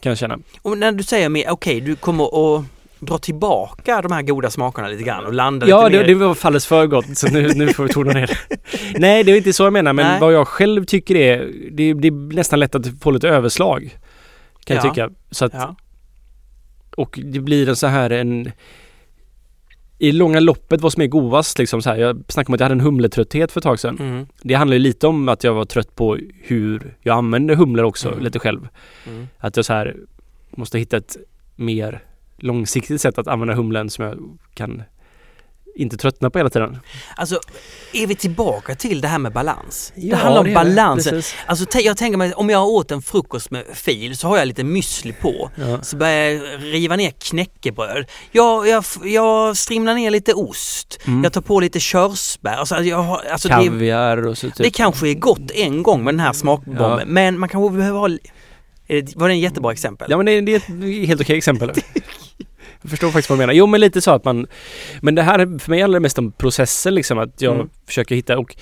Kan jag känna. Och när du säger mer, okej du kommer att dra tillbaka de här goda smakerna lite grann och landa Ja, lite det, mer. det var alldeles för gott så nu, nu får vi tona ner det. Nej, det är inte så jag menar men Nej. vad jag själv tycker är det, det är nästan lätt att få lite överslag. Kan Ja. jag tycka. Så att, ja. Och det blir en så här en i långa loppet vad som är godast liksom så här. Jag snackade om att jag hade en humletrötthet för ett tag sedan. Mm. Det handlar ju lite om att jag var trött på hur jag använde humlor också Mm. lite själv. Mm. Att jag så här måste hitta ett mer långsiktigt sätt att använda humlen som jag kan inte tröttna på hela tiden. Alltså, är vi tillbaka till det här med balans? det handlar om balansen. Alltså tä- jag tänker mig, om jag åt en frukost med fil så har jag lite müsli på. Ja. Så börjar jag riva ner knäckebröd. Jag, jag, f- jag strimlar ner lite ost. Mm. Jag tar på lite körsbär. Alltså, jag har, alltså det, Kaviar och så typ. det kanske är gott en gång med den här smakbomben. Ja. Men man kanske behöver ha... li- Är det- Var det en jättebra exempel? Ja men det, det är ett helt okej exempel. Jag förstår faktiskt vad du menar. Jo men lite så att man Men det här för mig handlar det mest om processen liksom att jag Mm. försöker hitta och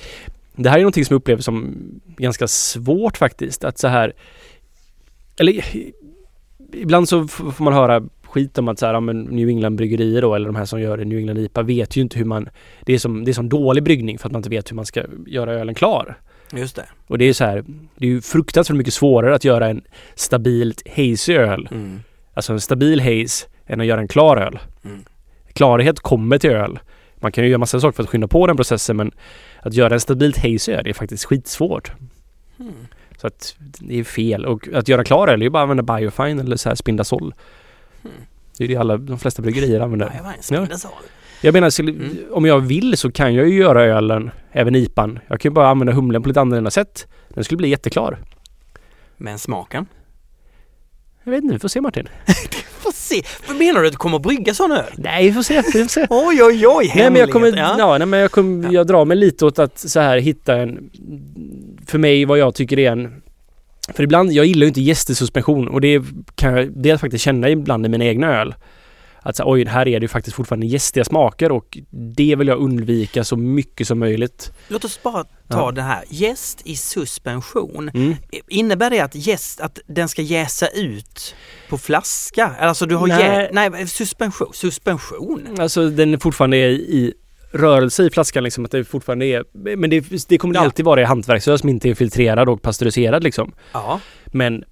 Det här är någonting som jag upplever som ganska svårt faktiskt att så här Eller Ibland så f- får man höra skit om att så här, ja, men New England bryggerier då eller de här som gör New England IPA vet ju inte hur man Det är som, det är som dålig bryggning för att man inte vet hur man ska göra ölen klar. Just det. Och det är så här, det är ju fruktansvärt mycket svårare att göra en stabilt hazy öl, Mm. alltså en stabil haze, än att göra en klar öl. Mm. Klarhet kommer till öl, Man kan ju göra massa saker för att skynda på den processen men att göra en stabilt hazy öl är faktiskt skitsvårt. Mm. Så att det är fel. Och att göra klar öl är ju bara att använda biofine eller så här spindasol. Mm. Det är ju det alla, de flesta bryggerier använder. Ja, jag var en spindelsal. Jag menar, skulle, Mm. om jag vill så kan jag ju göra ölen, även IPan. Jag kan ju bara använda humlen på lite annorlunda sätt. Den skulle bli jätteklar. Men smaken? Jag vet inte, vi får se Martin. Får se. Vad menar du att du kommer att brygga sån öl? Nej, vi får se. Vi får se. Oj, oj, oj, Nej men jag kommer, hemlighet. ja. Ja. nej, men jag, kommer jag drar mig lite åt att så här hitta en, för mig vad jag tycker är en, för ibland, jag gillar ju inte gästesuspension och det kan jag dels faktiskt känna ibland i mina egna öl. Att så här, oj, här är det ju faktiskt fortfarande gästiga smaker och det vill jag undvika så mycket som möjligt. Låt oss bara ta Ja. det här. Jäst i suspension. Mm. Innebär det att jäst, att den ska jäsa ut på flaska? Alltså du har Nej. nej. nej, suspension, suspension. Alltså den är fortfarande i, i rörelse i flaskan liksom, att det fortfarande är, men det, det kommer det Ja. alltid vara i hantverksöl som inte är filtrerad och pasteuriserad liksom. Ja, Men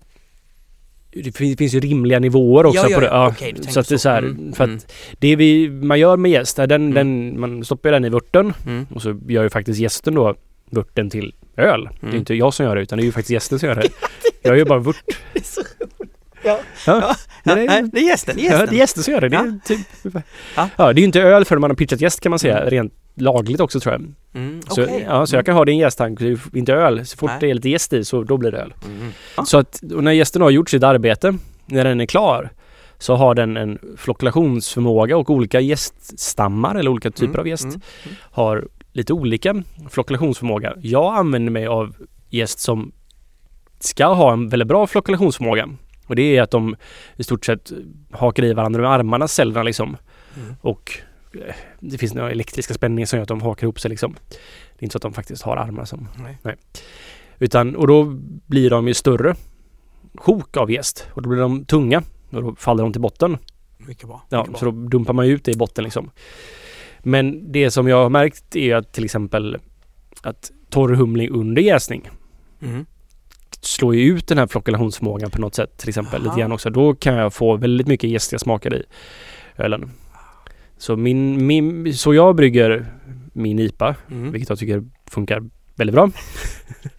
det finns, finns ju rimliga nivåer också Ja, ja, på det. ja. Okej, du tänker så att det är så. så här, Mm, för att mm. det vi, man gör med gäst, är den, Mm. den, man stoppar ju den i vörten mm. och så gör ju faktiskt gästen då vörten till öl. Det är Mm. ju inte jag som gör det utan det är ju faktiskt gästen som gör det. jag gör ju bara vört. det är så roligt. Ja. Ja, det är- nej, det är jästen, det är Ja, jästen. det är gästen som gör det. det är typ, Ja. ja. det är ju inte öl förrän man har pitchat gäst kan man säga, Mm. rent lagligt också tror jag. Mm, Så, okej. ja, så jag kan ha det i en jästtank, det är ju inte öl. Så fort Nej. det är lite gäst i så då blir det öl. Mm. Ja. Så att och när gästen har gjort sitt arbete, när den är klar, så har den en flockulationsförmåga och olika gäststammar eller olika typer Mm, av gäst mm, mm. har lite olika flockulationsförmåga. Jag använder mig av gäst som ska ha en väldigt bra flockulationsförmåga. Och det är att de i stort sett hakar i varandra med armarna, cellerna liksom. Mm. Och eh, det finns några elektriska spänningar som gör att de hakar ihop sig liksom. Det är inte så att de faktiskt har armar som Nej. utan, och då blir de ju större sjok av gäst och då blir de tunga och då faller de till botten. Mycket bra. Ja, mycket bra. så då dumpar man ju ut det i botten liksom. Men det som jag har märkt är ju att till exempel att torr humling under jäsning Mm. slår ju ut den här flockulationsförmågan på något sätt till exempel Aha. lite grann också. Då kan jag få väldigt mycket gästiga smaker i ölen. Så, min, min, så jag brygger min IPA, Mm. vilket jag tycker funkar väldigt bra.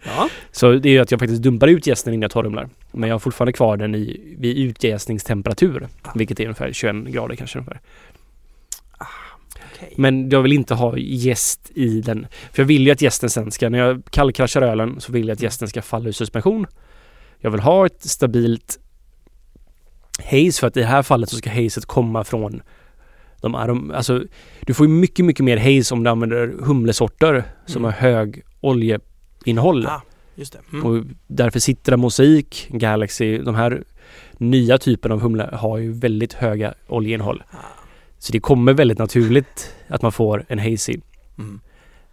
Ja. Så det är ju att jag faktiskt dumpar ut jästen innan jag torrumlar. Men jag har fortfarande kvar den i, vid utjäsningstemperatur. Vilket är ungefär 21 grader kanske. Ungefär. okej. Men jag vill inte ha jäst i den. För jag vill ju att jästen sen ska, när jag kallkraschar ölen så vill jag att jästen ska falla ur suspension. Jag vill ha ett stabilt haze för att i det här fallet så ska hazet komma från de arom, alltså du får ju mycket, mycket mer haze om du använder humlesorter Mm. som har hög oljeinnehåll. Ah, just det. Mm. Och därför Citra, Mosaic, Galaxy, de här nya typen av humle har ju väldigt höga oljeinnehåll. Ah. Så det kommer väldigt naturligt att man får en hazy Mm.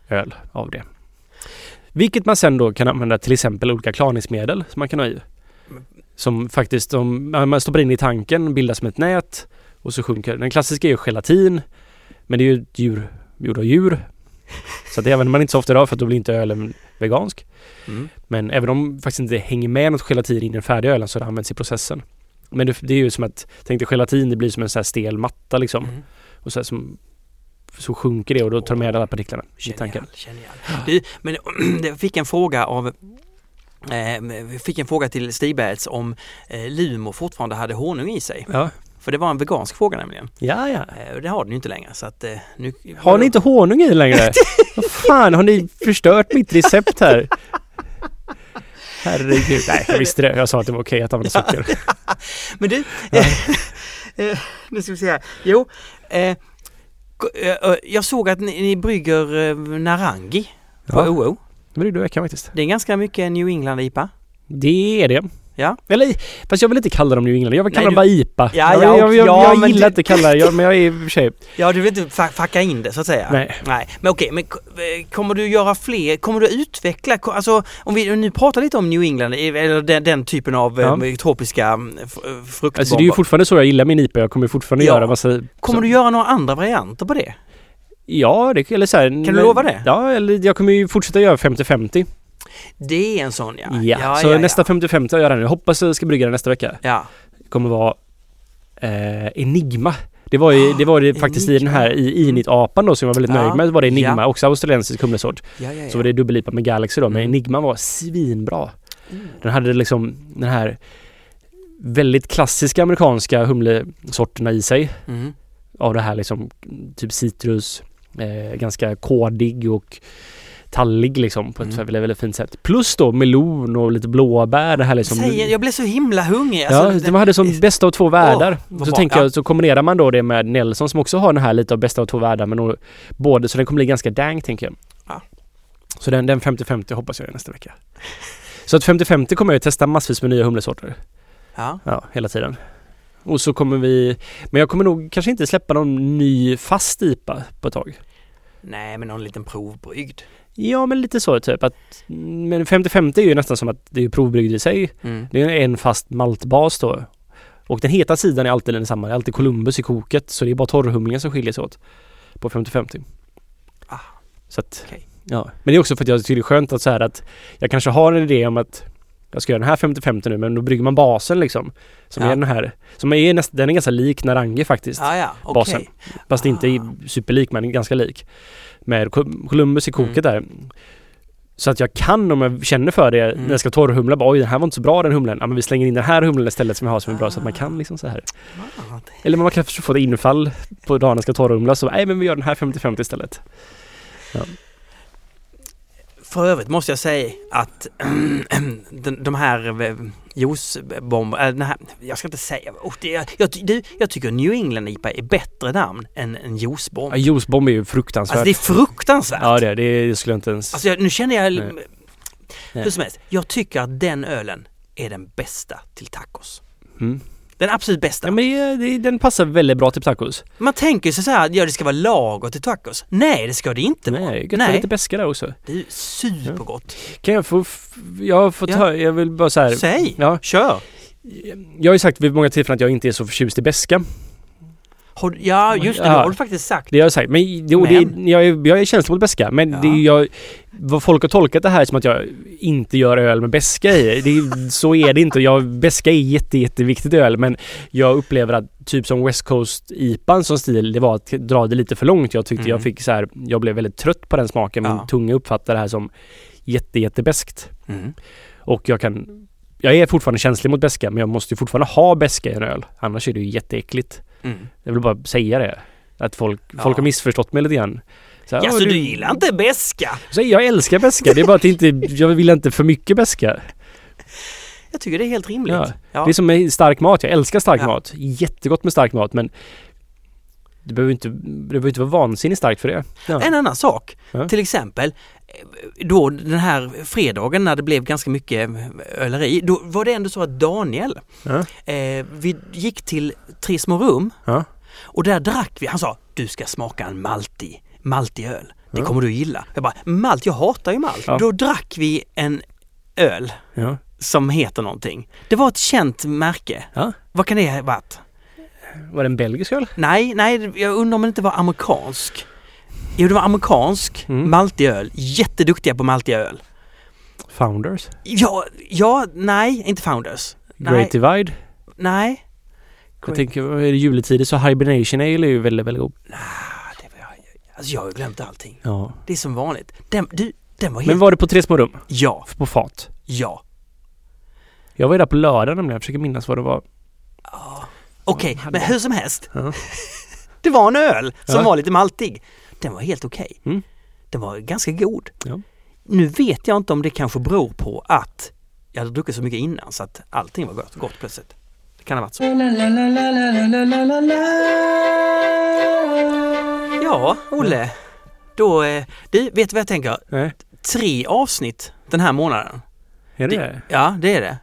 öl av det. Vilket man sen då kan använda till exempel olika klarningsmedel som man kan ha i. Men- Som faktiskt, de, man stoppar in i tanken, bildas som ett nät och så sjunker Den klassiska är ju gelatin, men det är ju ett djur, gjord av djur. Så det använder man inte så ofta idag för att då blir inte ölen vegansk. Mm. Men även om det faktiskt inte hänger med något gelatin i den färdiga ölen så det används i processen. Men det, det är ju som att, tänk dig gelatin, det blir som en sån här stel matta liksom. Mm. Och så, här som, så sjunker det och då tar de med alla partiklarna i tanken. Genial, genial. Du, men jag fick en fråga av eh, jag fick en fråga till Stigbergets om eh, Lumo fortfarande hade honung i sig. Ja. För det var en vegansk fråga nämligen. ja, ja. Eh, och det har den ju inte längre så att eh, nu... Har ni inte honung i längre? Vad fan, har ni förstört mitt recept här? Herregud. Nej, jag visste det. Jag sa att det var okej att använda socker. Men du, eh, eh, nu ska vi se här. Jo, eh, ko- eh, eh, jag såg att ni, ni brygger eh, Narangi på Ja. OO. Det blir du veckan faktiskt. Det är ganska mycket New England-IPA. Det är det. Ja. Eller, fast jag vill inte kalla dem New England. Jag vill kalla Nej, dem bara IPA. Ja, jag, ja, jag, jag, ja, jag men gillar det- inte att kalla jag, men jag är i och för sig... Ja, du vill inte fa- facka in det så att säga? Nej. Nej, men okej, men k- eh, kommer du göra fler, kommer du utveckla, ko- alltså om vi nu pratar lite om New England, eh, eller den, den typen av eh, tropiska mm, f- eh, fruktbomber. Alltså det är ju fortfarande så jag gillar min IPA. Jag kommer ju fortfarande Ja. göra massa... kommer så- du göra några andra varianter på det? Ja, det, eller så här, Kan du lova det? Ja, eller jag kommer ju fortsätta göra 50-50. Det är en sån ja. Ja, så nästa 50-50 jag gör jag nu. Jag hoppas jag ska brygga den nästa vecka. Ja. Det kommer vara eh, Enigma. Det var ju, det var ju faktiskt i den här, i Init-apan då som jag var väldigt Ah, Ja. nöjd med, var det Enigma, Ja. också australiensisk humlesort. Ja, ja, ja. Så var det dubbellipa med Galaxy då, men Mm. Enigma var svinbra. Den hade liksom den här väldigt klassiska amerikanska humlesorterna i sig. Mm. Av det här liksom, typ citrus, eh, ganska kodig och tallig liksom på ett Mm. väldigt, väldigt fint sätt. Plus då melon och lite blåbär, det här liksom. Säger, jag blev så himla hungrig. Ja, Alltså, de hade som bästa av två världar. vad så bra. tänker Ja. jag, så kombinerar man då det med Nelson som också har den här lite av bästa av två världar. Men nog, både, så den kommer bli ganska dang tänker jag. Ja. Så den, den 50-50 hoppas jag är nästa vecka. Så att 50-50 kommer jag att testa massvis med nya humlesorter. ja. Ja, hela tiden. Och så kommer vi, men jag kommer nog kanske inte släppa någon ny fast IPA på ett tag. Nej, men någon liten provbryggd. Ja, men lite så typ att, men 50-50 är ju nästan som att det är provbryggd i sig. Mm. Det är en fast maltbas då. Och den heta sidan är alltid densamma. Det är alltid Columbus i koket. Så det är bara torrhumlingen som skiljer sig åt. På 50-50. Ah. Så att, Okej. ja. Men det är också för att jag tycker det är skönt att så här att jag kanske har en idé om att jag ska göra den här 50-50 nu men då brygger man basen liksom. Som Ja. är den här. Som är nästan, den är ganska lik Narangi faktiskt. Ja, ja, okej. Basen. Fast inte i- superlik men ganska lik. Med Col- Columbus i koket där. Så att jag kan om jag känner för det Mm. när jag ska torrhumla, bara oj den här var inte så bra den humlen. Ja men vi slänger in den här humlen istället som vi har som är bra så att man kan liksom så här. Ah, det- Eller man kanske får ett infall på dagen när jag ska torrhumla så nej men vi gör den här 50-50 istället. För övrigt måste jag säga att de, de här eh, juicebomberna, äh, den här- jag ska inte säga, oh, det, jag, jag, ty- du, jag tycker New England IPA är bättre namn än en juicebomb. Ja, juicebomb är ju Alltså fruktansvärt. det är fruktansvärt. ja det, är- det skulle jag inte ens... Alltså jag, nu känner jag, Nej. hur som helst, jag tycker att den ölen är den bästa till tacos. mm. Den absolut bästa. ja, men det, det, den passar väldigt bra till tacos. Man tänker sig så här, ja det ska vara lager till tacos. Nej det ska det inte vara. Nej, gött med Nej, lite beska där också. det är supergott. Kan jag få... f- Jag har fått Ja. höra, jag vill bara så här... Säg, Ja, kör! jag har ju sagt vid många tillfällen att jag inte är så förtjust i beska. Har du- ja just det, Ja. det har du faktiskt sagt. Det har jag sagt. Men, jo, Men? Det, jag, är, jag är känslig mot beska. Men Ja. det är, jag, vad folk har tolkat det här som att jag inte gör öl med beska i. Det, är- så är det inte. Jag, beska är jätte, jätteviktigt i öl. Men jag upplever att typ som West Coast IPan som stil, det var att dra det lite för långt. Jag tyckte Mm. jag fick så här, jag blev väldigt trött på den smaken. Min Ja. tunga uppfattar det här som jätte, jättebäskt. Mm. Och jag kan jag är fortfarande känslig mot beska men jag måste ju fortfarande ha beska i en öl. Annars är det ju jätteäckligt. Mm. Jag vill bara säga det. Att folk, folk Ja. har missförstått mig lite grann. Så, här, Ja, så "Åh, du gillar inte beska? Så här, jag älskar beska. Det är bara att inte, jag vill inte för mycket beska. Jag tycker det är helt rimligt. Ja, Ja, Det är som med stark mat. Jag älskar stark Ja. mat. Jättegott med stark mat men det behöver inte, det behöver inte vara vansinnigt starkt för det. Ja. En annan sak, Ja. till exempel eh, då den här fredagen när det blev ganska mycket eh, öleri, då var det ändå så att Daniel, Ja. eh, vi gick till Tre små rum Ja. och där drack vi, han sa du ska smaka en malti, maltiöl, det Ja. kommer du gilla. Jag bara, malt, jag hatar ju malt. Ja. Då drack vi en öl Ja. som heter någonting. Det var ett känt märke. Ja. Vad kan det ha varit? Var det en belgisk öl? Nej, nej, jag undrar om den inte var amerikansk. Jo, det var amerikansk Mm. maltig öl. Jätteduktiga på maltig öl. Founders? Ja, ja, nej, inte Founders. Nej. Great Divide? Nej. Jag Great- tänker, är det juletider så Hibernation Ale är ju väldigt, väldigt god. Ah, det var jag. Alltså jag har ju glömt allting. Ja. Det är som vanligt. Den, du, den var helt... Men var det på Tre små rum? Ja, På fat? ja. Jag var ju där på lördag nämligen. Jag försöker minnas vad det var. Okej, Ja, men det- hur som helst. Mm, Ja. det var en öl som Ja. var lite maltig. Den var helt okej. Mm. Den var ganska god. Ja. Nu vet jag inte om det kanske beror på att jag hade druckit så mycket innan så att allting var gott, gott plötsligt. Det kan ha varit så. Ja, Olle. Då, eh, du, vet du vad jag tänker? Nej, Tre avsnitt den här månaden. är det det? Ja, det är det.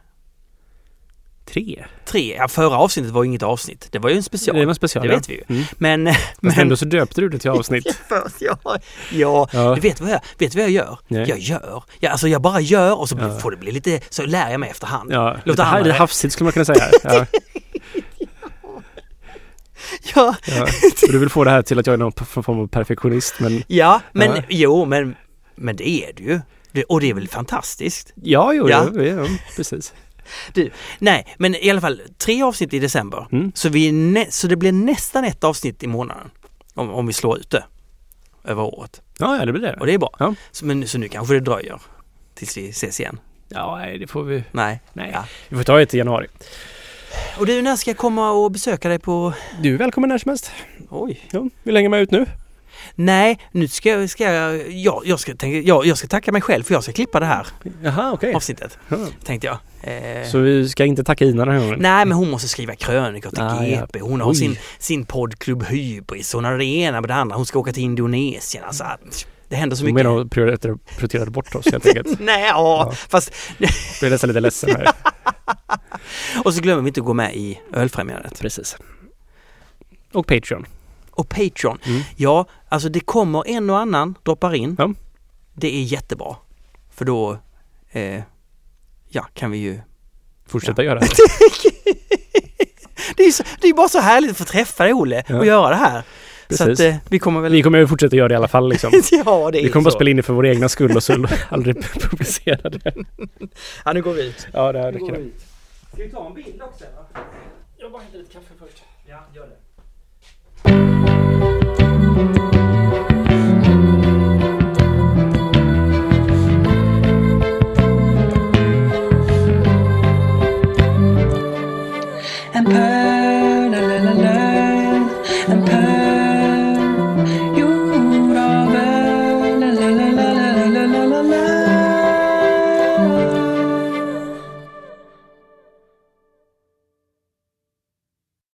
Tre? Tre. Ja, förra avsnittet var ju inget avsnitt. Det var ju en special. Det var en special. det ja. vet vi ju. Mm. Men... eh, Men men ändå så döpte du det till avsnitt. först, ja. ja. Ja. Du vet vad jag, vet du vad jag gör? Nej. Jag gör. Jag, alltså jag bara gör och så Ja. får det bli lite, så lär jag mig efterhand. Ja, Låt lite, ha- andra- lite hafsigt skulle man kunna säga. Ja, Ja, ja. Och du vill få det här till att jag är någon p- form av perfektionist men ja men Ja. jo, men, men det är du ju. Det, och det är väl fantastiskt? ja, jo, Ja. ja. ja precis. Nej, men i alla fall tre avsnitt i december. Mm. Så, vi är nä- så det blir nästan ett avsnitt i månaden. Om, om vi slår ut det. Över året. Ja, ja, det blir det. Och det är bra. Ja. Så, men, så nu kanske det dröjer. Tills vi ses igen. Ja, nej, det får vi. Nej. Nej. Ja. Vi får ta det till januari. Och du, när ska jag komma och besöka dig på... Du är välkommen när som helst. Oj. Ja, hur länge är man ut nu? Nej, nu ska, jag- ska jag... Ja, jag ska, tänka, ja, jag ska tacka mig själv för jag ska klippa det här Jaha, okej. avsnittet. Ja. Tänkte jag. Eh, Så vi ska inte tacka Ina den här gången? Nej, men hon måste skriva krönikor till Ah, ja. GP. Hon har Oj. sin, sin poddklubb Hybris. Hon har det ena med det andra. Hon ska åka till Indonesien. Alltså, det händer så Du mycket. menar hon prioriterade, prioriterade bort oss helt enkelt? Nej, ja. Ja. fast... Jag är nästan lite ledsen här. Och så glömmer vi inte att gå med i Ölfrämjandet. Precis. Och Patreon. Och Patreon. Mm. Ja, alltså det kommer en och annan droppar in. Ja. Det är jättebra. För då, eh, ja, kan vi ju... Fortsätta göra det. Det är ju så, det är bara så härligt att få träffa dig, Olle, Ja. och göra det här. Så Precis. att eh, vi kommer väl... Vi kommer ju fortsätta göra det i alla fall liksom. ja, det är Vi kommer bara så. spela in det för vår egna skull och så aldrig publicera det. Ja, nu går vi ut. Ja, det här räcker det. Ska vi ta en bild också eller? Jag bara hämtar lite kaffe först. Ja, gör det. and purr, la la la la, and purr,